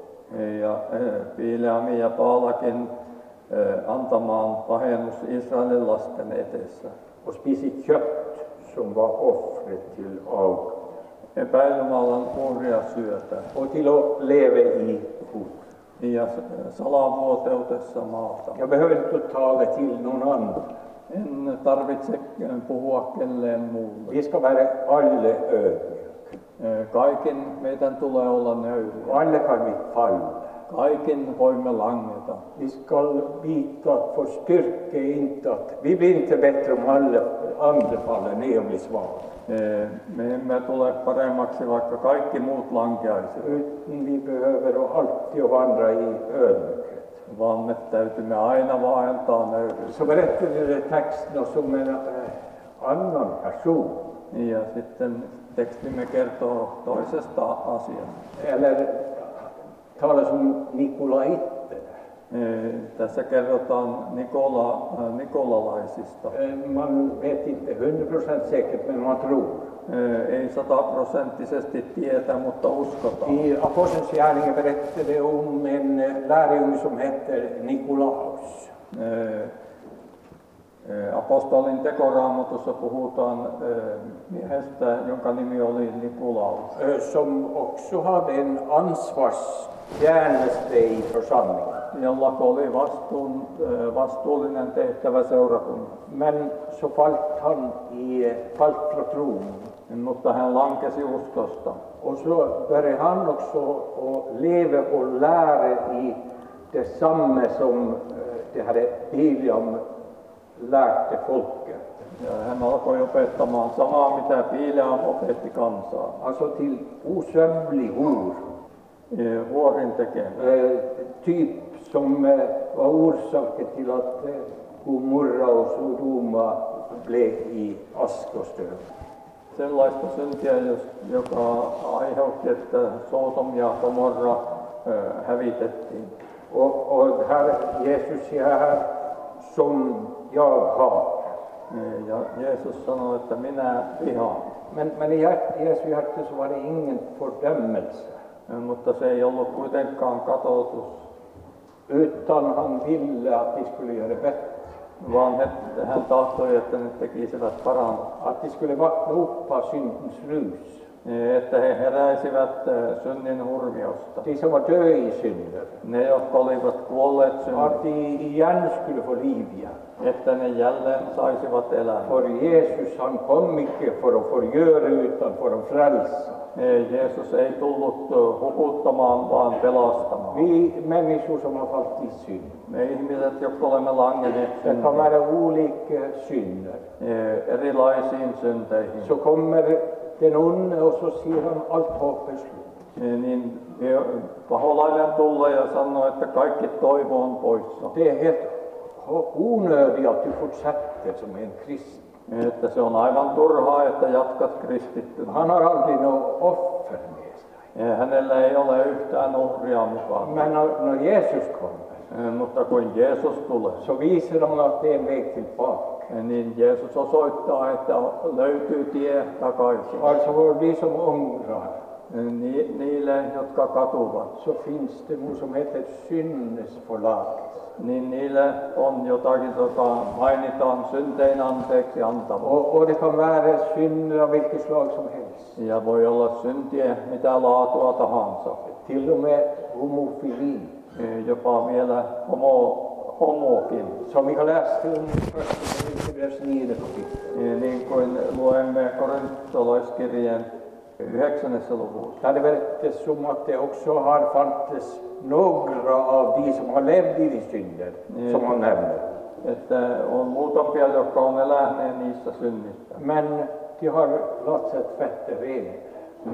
Speaker 2: Ja ö, Piileami ja Paalakin ö, antamaan pahennus Israelin lasten edessä.
Speaker 1: Och spisa kött som var offret till Aug.
Speaker 2: Epäilymallan uhria syötä.
Speaker 1: Och till att leva i hot.
Speaker 2: ja salavuoteutessa maata.
Speaker 1: Jag behöver inte tala till någon annan.
Speaker 2: En tarvitse eh, puhua kelleen muulle.
Speaker 1: Vi ska vara alla ödmjuka.
Speaker 2: Kaikin meidän tulee olla nöyriä.
Speaker 1: Alla kan vi falla.
Speaker 2: Kaikin voimme langeta.
Speaker 1: Vi ska veta att vår styrka är inte att vi blir inte bättre om alla andra faller ner och blir svaga.
Speaker 2: Eh, Me emme tule paremmaksi, vaikka kaikki muut lankeaisivat,
Speaker 1: Utan vi behöver alltid att vandra i ödmjukhet.
Speaker 2: vaan me täytymme aina vaeltaa nöyryys.
Speaker 1: Så berättade den där texten oss om en eh, annan person,
Speaker 2: Niin, Ja sitten tekstimme kertoo toisesta asiasta.
Speaker 1: eller talas om Nikolaiter.
Speaker 2: Tässä kerrotaan Nikola, äh, nikolalaisista.
Speaker 1: Eh, Man vet inte hundra procent säkert, men man tror.
Speaker 2: Ö, Ei sataprosenttisesti tietä, mutta uskotaan.
Speaker 1: I Apostelns gärningar berättade det om en eh, lärjunge som heter Nikolaus.
Speaker 2: Ö, ö, Apostolin tekoraamatussa puhutaan ö, miehestä, jonka nimi oli Nikolaus,
Speaker 1: eh, som också hade en ansvarsgärneste i församlingen.
Speaker 2: jolla oli vastuun, vastuullinen tehtävä seurakunnassa.
Speaker 1: Men så falt han i, eh, falt fra tronen.
Speaker 2: Mutta hän lankesi uskosta.
Speaker 1: Och så började han också att leva och lära i detsamma som eh, det hade Biliam lärde folket.
Speaker 2: Ja hän alkoi opettamaan samaa, mitä Piileam opetti kansaa.
Speaker 1: Alltså till osömlig hor.
Speaker 2: Eh, Vuorin tekemään.
Speaker 1: Eh, typ som eh, var orsaken till att eh, Gomorra och Sodoma blev i ask och stön.
Speaker 2: Sellaista syntiä, jos- joka aiheutti, että Sodom ja Gomorra eh, hävitettiin.
Speaker 1: Och, och här, Jesus säger här, som jag har.
Speaker 2: Eh, Ja Jeesus sanoi, että minä vihaan.
Speaker 1: Men, men i hjärt, Jesu hjärta så var det ingen fördömelse,
Speaker 2: Eh, Mutta se ei ollut kuitenkaan katotus,
Speaker 1: utan han ville att de skulle göra bättre.
Speaker 2: vaan he, hän tahtoi, että ne tekisivät parannusta.
Speaker 1: Att de skulle vakna upp av syndens rus.
Speaker 2: Eh, Että he heräisivät eh, synnin hurmiosta.
Speaker 1: De som var döda i synden.
Speaker 2: Ne, jotka olivat kuolleet synnin,
Speaker 1: Att de igen skulle få liv igen.
Speaker 2: että ne jälleen saisivat elää.
Speaker 1: For Jesus han kom ikke for å forgjøre, utan for å frelse.
Speaker 2: Ei, Jeesus ei tullut ö, hukuttamaan, vaan pelastamaan.
Speaker 1: Vi mennesker som har falt i synd,
Speaker 2: Me ihmiset, jotka olemme langenneet
Speaker 1: det kan
Speaker 2: syntiin,
Speaker 1: være ulike synder,
Speaker 2: ö, erilaisiin synteihin,
Speaker 1: så kommer den onde, og så sier han alt håp er slutt.
Speaker 2: ö, niin ö, paholainen tulee ja sanoo, että kaikki toivo on poissa.
Speaker 1: Det er helt ho- onødig at du fortsetter som en kristen.
Speaker 2: Että se on aivan turhaa, että jatkat kristittynä.
Speaker 1: Han har aldri noe offer med seg.
Speaker 2: Ja Hänellä ei ole yhtään uhria mukaan.
Speaker 1: Men når, når Jesus kommer,
Speaker 2: Ö, Mutta kun Jeesus tulee,
Speaker 1: så viser han at det er en vei tilbake.
Speaker 2: niin Jeesus osoittaa, että löytyy tie takaisin.
Speaker 1: Altså for de som angrer,
Speaker 2: Ni- Niille, jotka katuvat.
Speaker 1: så fins det noe som heter syndenes forlatelse.
Speaker 2: niin niille on jotakin, joka mainitaan syntein anteeksi antava.
Speaker 1: Og, og det kan være synder av hvilket slag som helst.
Speaker 2: Ja voi olla syntiä mitä laatua tahansa,
Speaker 1: Til og med homofili,
Speaker 2: jopa vielä homo, homokin.
Speaker 1: som vi kan lese om i første Korinterbrevs 9. kapittel.
Speaker 2: Niin kuin luemme korintolaiskirjeen yhdeksännessä luvussa.
Speaker 1: Der det virkes som at det også har fantes noen av de som har levd i de synder, som han nevner.
Speaker 2: Että on muutamia, jotka on eläneet niissä synnistä,
Speaker 1: Men de har latt seg tvette rene.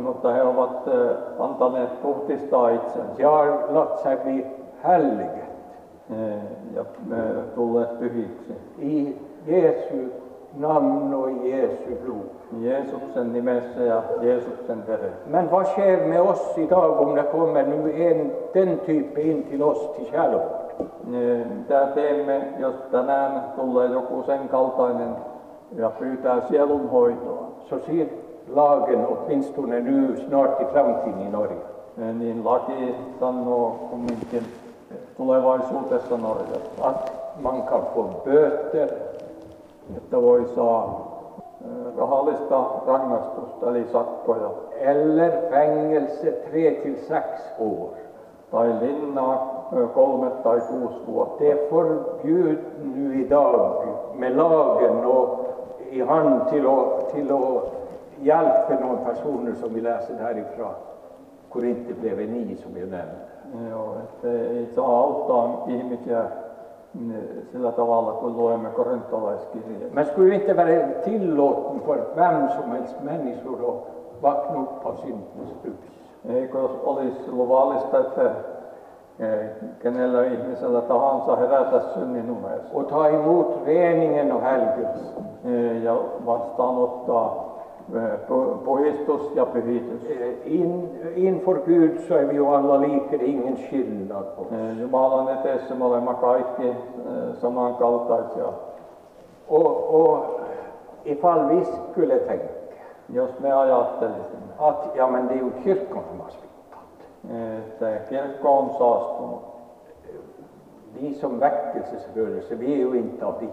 Speaker 2: mutta he ovat eh, antaneet puhdistaa itsensä
Speaker 1: De har latt seg bli hellige
Speaker 2: eh, ja eh, tulleet pyhiksi.
Speaker 1: i Jesu navn og i Jesu blod.
Speaker 2: Jeesuksen nimessä ja Jeesuksen veressä.
Speaker 1: Men vad sker med oss idag om det kommer nu en, den typen in till oss till kärlek?
Speaker 2: Niin, Mitä teemme, jos tänään tulee joku sen kaltainen ja pyytää sielunhoitoa?
Speaker 1: Så säger lagen, åtminstone nu snart i framtiden i Norge,
Speaker 2: Niin laki sanoo kumminkin tulevaisuudessa Norjassa,
Speaker 1: att man kan få böter
Speaker 2: että voi saa eh, rahallista rangaistusta eli sakkoja
Speaker 1: eller fängelse tre till sex år.
Speaker 2: tai linnaa eh, kolme tai kuusi vuotta.
Speaker 1: Det är förbjudet nu idag med lagen och i hand till att, till att hjälpa någon personer som vi läser härifrån. Korinthierbrevet 9 som jag nämnde.
Speaker 2: Joo, että ei saa auttaa ihmisiä mm, sillä tavalla, kun luemme korintolaiskirjeen.
Speaker 1: Men skulle det inte vara tillåten för vem som helst människor att vakna upp av syndens rus?
Speaker 2: Eikö olisi luvallista, että eh, kenellä ihmisellä tahansa herätä synnin unessa
Speaker 1: Och ta emot reningen och helgelsen.
Speaker 2: eh, ja vastaanottaa eh, pu- puhdistus ja pyhitys.
Speaker 1: Eh, In, inför Gud så är vi ju alla lika, det är ingen skillnad på oss.
Speaker 2: Eh, Jumalan edessä me olemme kaikki eh, samankaltaisia.
Speaker 1: Och, och ifall vi skulle tänka
Speaker 2: Jos me ajattelisimme,
Speaker 1: att ja, men det är ju kyrkan som har sviktat.
Speaker 2: eh, että kirkko on saastunut,
Speaker 1: Vi som väckelserörelse, vi är ju inte av vikt.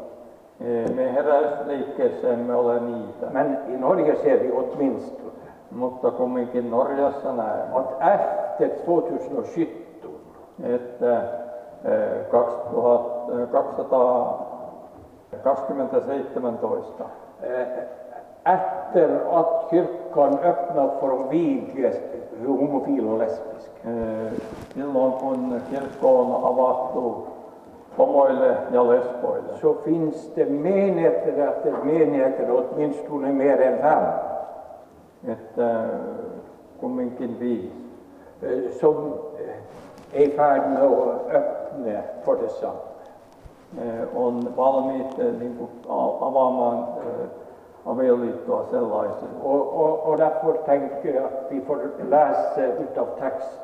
Speaker 2: Eh, me heräysliikkeessä emme ole niitä,
Speaker 1: Men i Norge ser vi åtminstone
Speaker 2: mutta kumminkin Norjassa näemme,
Speaker 1: att efter 2017
Speaker 2: että eh, 2000, eh, 217.
Speaker 1: Efter att kyrkan öppnat för de vigliga homofila och lesbiska.
Speaker 2: Eh, Silloin kun kirkko on avattu homoille ja lesboille,
Speaker 1: Så finns det menigheter efter menigheter, åtminstone mer än fem,
Speaker 2: että eh, kumminkin viisi,
Speaker 1: eh, som eh, är i färd med att öppna för detsamma.
Speaker 2: eh, on valmiit eh, niin kuin, a- avaamaan eh, avioliittoa sellaisille.
Speaker 1: Och, och, och därför tänker jag att vi får läsa utav text.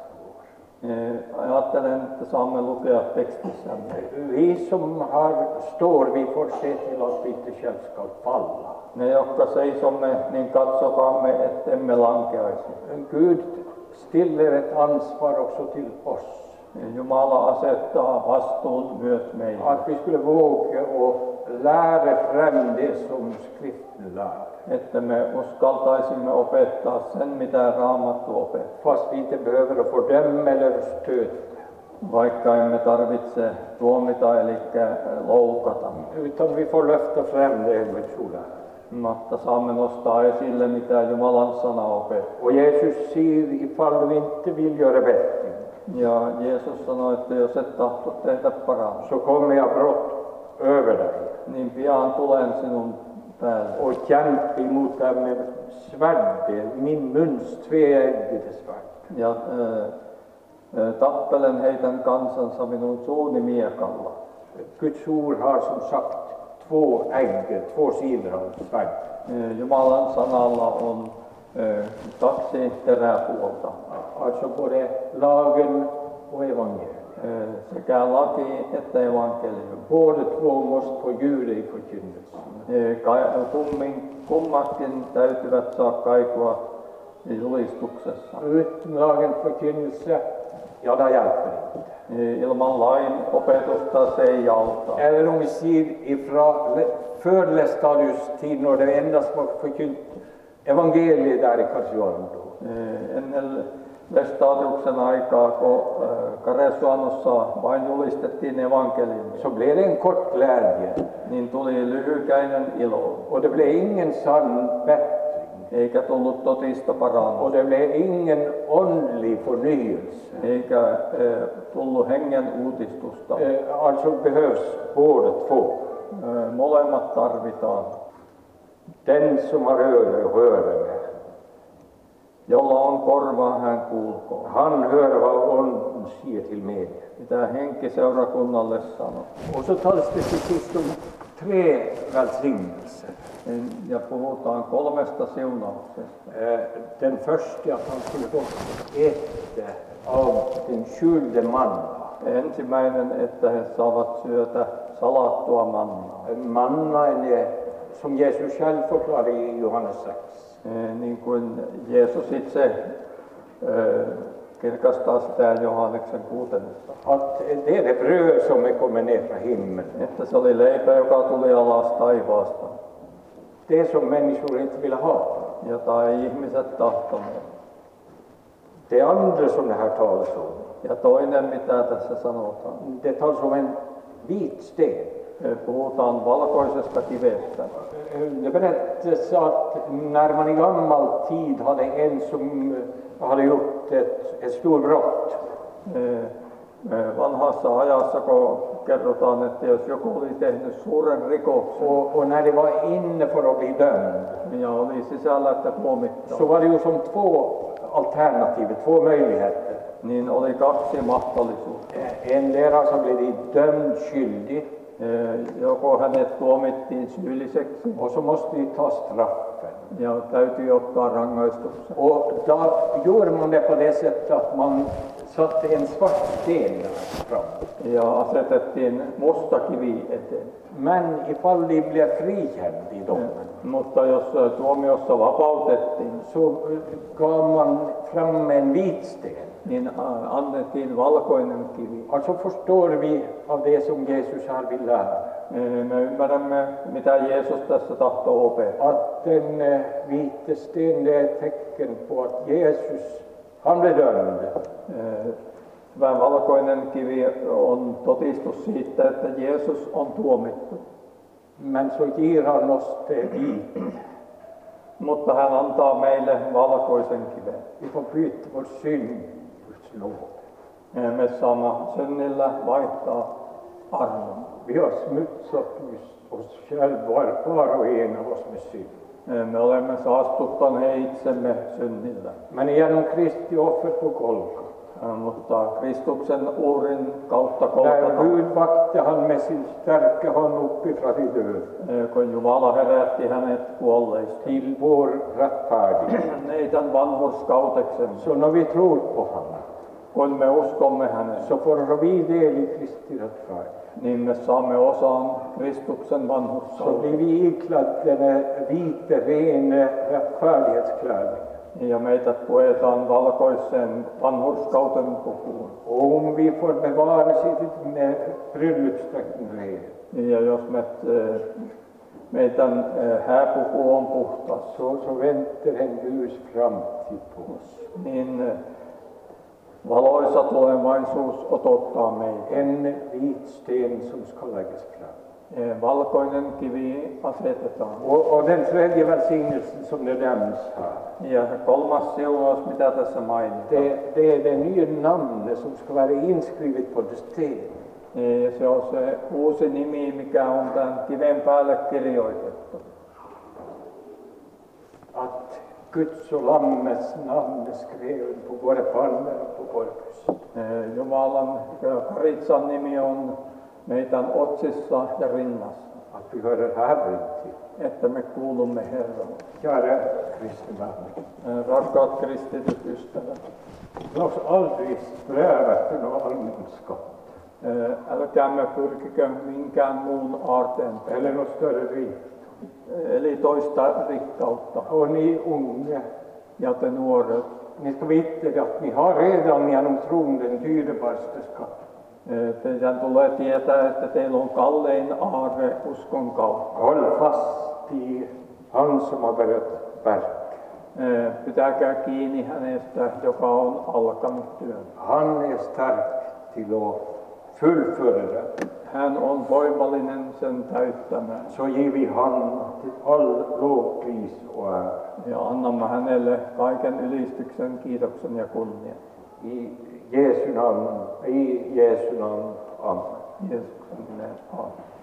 Speaker 2: Eh, Ajattelen, että saamme lukea tekstissämme.
Speaker 1: Vi som har, står, vi får se till att vi inte själv ska falla.
Speaker 2: Ne, jotka seisomme, niin katsokaamme, ettemme lankeaisi.
Speaker 1: Men Gud stiller ett ansvar också till oss,
Speaker 2: Jumala asettaa vastuun myös meille,
Speaker 1: att vi skulle våga och lära fram det som skriften lär.
Speaker 2: että me uskaltaisimme opettaa sen, mitä Raamattu opettaa,
Speaker 1: Fast vi inte behöver att fördöma eller stöta,
Speaker 2: vaikka emme tarvitse tuomita eli loukata,
Speaker 1: utan vi får lyfta fram det Gud skola.
Speaker 2: mutta saamme nostaa esille, mitä Jumalan sana opettaa.
Speaker 1: Och Jesus säger, ifall vi inte vill göra bättre,
Speaker 2: Ja Jeesus sanoi, että jos et tahto tehdä parannusta,
Speaker 1: så kommer jag brott över dig.
Speaker 2: niin pian tulen sinun päälle.
Speaker 1: och kämpa emot dem med svärdet, min muns tveeggede svärd.
Speaker 2: Ja ö, ö, tappelen heidän kansansa minun suuni miekalla.
Speaker 1: Guds ord har som sagt två ägg, två sidor av ett svärd.
Speaker 2: Ö, Eh, Jumalan sanalla on ö, kaksi teräpuolta,
Speaker 1: Alltså både lagen och evangeliet.
Speaker 2: Ö, Eh, sekä laki että evankeliumi.
Speaker 1: Båda två måste få ljuda i förkynnelsen.
Speaker 2: Ö, Eh, ka- Kummin, kummatkin täytyvät saa kaikua julistuksessa.
Speaker 1: Utan lagens förkynnelse, ja det hjälper inte.
Speaker 2: Ö, Eh, Ilman lain opetusta se ei auta.
Speaker 1: Eller om vi säger ifrån för Lestadius tid när det endast var förkynt evangeliet där i Karsjuarndo.
Speaker 2: Ö, Ennen Vestadiuksen aikaa, kun ö, Karesuannossa vain julistettiin evankeliumia,
Speaker 1: Så blev det en kort glädje.
Speaker 2: niin tuli lyhykäinen ilo,
Speaker 1: Och det blev ingen sann bättring.
Speaker 2: eikä tullut totista
Speaker 1: Och
Speaker 2: parannusta,
Speaker 1: det blev ingen åndlig förnyelse.
Speaker 2: eikä ö, tullut hengen uutistusta.
Speaker 1: Eh, Alltså behövs båda två.
Speaker 2: Ö, Molemmat tarvitaan.
Speaker 1: Den som har öra hör med.
Speaker 2: Jolla on korva, hän kuulkoon,
Speaker 1: Han hör vad onden säger till mig.
Speaker 2: mitä henki seurakunnalle sanoo.
Speaker 1: Och så talas det till sist om tre välsignelser.
Speaker 2: En- niin, Ja puhutaan kolmesta siunauksesta.
Speaker 1: Eh, Den första att han skulle få äta av den skjulde manna.
Speaker 2: Ensimmäinen, että he saavat syötä salattua mannaa.
Speaker 1: Manna är som Jesus själv förklarar i Johannes 6.
Speaker 2: Eh, niin kuin Jeesus itse ö, kirkastaa sitä Johanneksen kuutennessa.
Speaker 1: att det är det bröd som är kommit ner från himlen.
Speaker 2: Että se oli leipä, joka tuli alas taivaasta,
Speaker 1: Det som människor inte vill ha.
Speaker 2: jota ei ihmiset tahtoneet.
Speaker 1: Det andra som det här talas om,
Speaker 2: Ja toinen, mitä tässä sanotaan,
Speaker 1: det talas om en vit sten.
Speaker 2: ö, puhutaan valkoisesta kivestä.
Speaker 1: Det berättas att när man i gammal tid hade en som hade gjort ett, ett stort brott,
Speaker 2: Ö, ö, Vanhassa ajassa, kun kerrotaan, että jos joku oli tehnyt suuren rikoksen
Speaker 1: och, och när det var inne för att bli dömd,
Speaker 2: ja oli sisällä, että tuomittaa,
Speaker 1: så var det ju som två alternativ, två möjligheter.
Speaker 2: niin oli kaksi mahdollisuutta.
Speaker 1: En där som blev dömd skyldig,
Speaker 2: Ö, E, Joko hänet tuomittiin syylliseksi
Speaker 1: och så måste vi ta straffen.
Speaker 2: Ja täytyy ottaa rangaistuksen.
Speaker 1: Och då gjorde man det på det sättet att man satte en svart sten där fram.
Speaker 2: Ja asetettiin musta kivi eteen. E,
Speaker 1: Men ifall de blev frikänd i domen
Speaker 2: Mutta jos ö, tuomiossa vapautettiin,
Speaker 1: så eh, gav man fram en vit sten.
Speaker 2: niin ä, annettiin valkoinen kivi.
Speaker 1: Alltså förstår vi av det som Jesus här vill lära
Speaker 2: Ö, Eh, Me ymmärrämme, mitä Jeesus tässä tahtoo opettaa.
Speaker 1: att den eh, vita stenen är ett tecken på att Jesus, han blev dömd.
Speaker 2: Ö, Tämä Eh, valkoinen kivi on todistus siitä, että Jeesus on tuomittu,
Speaker 1: Men så ger han oss det vit.
Speaker 2: mutta hän antaa meille valkoisen kiven.
Speaker 1: Vi får byta vår synd mot Guds nåd.
Speaker 2: Eh, Me saamme synnillä vaihtaa armon.
Speaker 1: Vi har smutsat oss- oss själva, var- var och en av oss med synd.
Speaker 2: Eh, Me olemme saastuttaneet itsemme synnillä, Eh,
Speaker 1: Men genom Kristi offer på Golgata,
Speaker 2: mutta Kristuksen uhrin kautta
Speaker 1: där
Speaker 2: kolkata,
Speaker 1: Gud vakte han med sin stärka honom uppifrån de döda
Speaker 2: eh, kun Jumala herätti hänet kuolleista,
Speaker 1: till vår rättfärdighet.
Speaker 2: meidän vanhurskauteksemme,
Speaker 1: Så när vi tror på honom
Speaker 2: kun me uskomme hänen,
Speaker 1: så får vi del i Kristi rättfärdighet.
Speaker 2: niin me saamme osaan Kristuksen
Speaker 1: Så blir
Speaker 2: vanhurskaudesta.
Speaker 1: vi iklädda den vita, rena rättfärdighetsklänningen.
Speaker 2: Niin Ja meidät puetaan valkoiseen vanhurskauten pukuun.
Speaker 1: Och om vi får bevara sitt med bröllopsdräkten ren,
Speaker 2: Niin Ja jos me, eh, meidän eh, hääpuku on puhtas,
Speaker 1: så, så väntar en ljus framtid på oss.
Speaker 2: niin eh, valoisa tulevaisuus odottaa meitä.
Speaker 1: En vit sten som ska läggas fram.
Speaker 2: Eh, Valkoinen kivi asetetaan.
Speaker 1: Och, och den tredje välsignelsen som det nämns här,
Speaker 2: Niin Ja se kolmas siunaus, mitä tässä mainitaan,
Speaker 1: det, det är det nya namnet som ska vara inskrivet på stenen.
Speaker 2: eh, se on se uusi nimi, mikä on tämän kiven päälle kirjoitettu.
Speaker 1: Att Guds och Lammets namn är skriven på våra pannor och på våra bröst.
Speaker 2: Eh, Jumalan ja Karitsan nimi on meidän otsissa ja rinnassa,
Speaker 1: Att vi hör Herren till.
Speaker 2: että me kuulumme Herralle.
Speaker 1: Kära Kristi namn,
Speaker 2: Eh, Rakkaat kristityt ystävät,
Speaker 1: låt oss aldrig sträva efter någon allmänskap
Speaker 2: eh, älkäämme pyrkikö minkään muun aarteen
Speaker 1: eller
Speaker 2: perässä,
Speaker 1: något större rikt.
Speaker 2: eli toista rikkautta.
Speaker 1: Och ni unga,
Speaker 2: Ja te nuoret,
Speaker 1: ni ska veta att ni har redan genom tron den dyrbaraste skatten.
Speaker 2: eh, teidän tulee tietää, että teillä on kallein aarre uskon kautta.
Speaker 1: Håll fast i han som har börjat verk.
Speaker 2: Eh, Pitäkää kiinni hänestä, joka on alkanut työn.
Speaker 1: Han är stark till att fullfölja det.
Speaker 2: Hän on voimallinen sen täyttämään.
Speaker 1: Så ger vi han till all lovpris och ära.
Speaker 2: Ja annamme hänelle kaiken ylistyksen, kiitoksen ja kunnian.
Speaker 1: I Jesu namn, i Jesu namn. Amen.
Speaker 2: Jeesuksen nimeen. Aamen.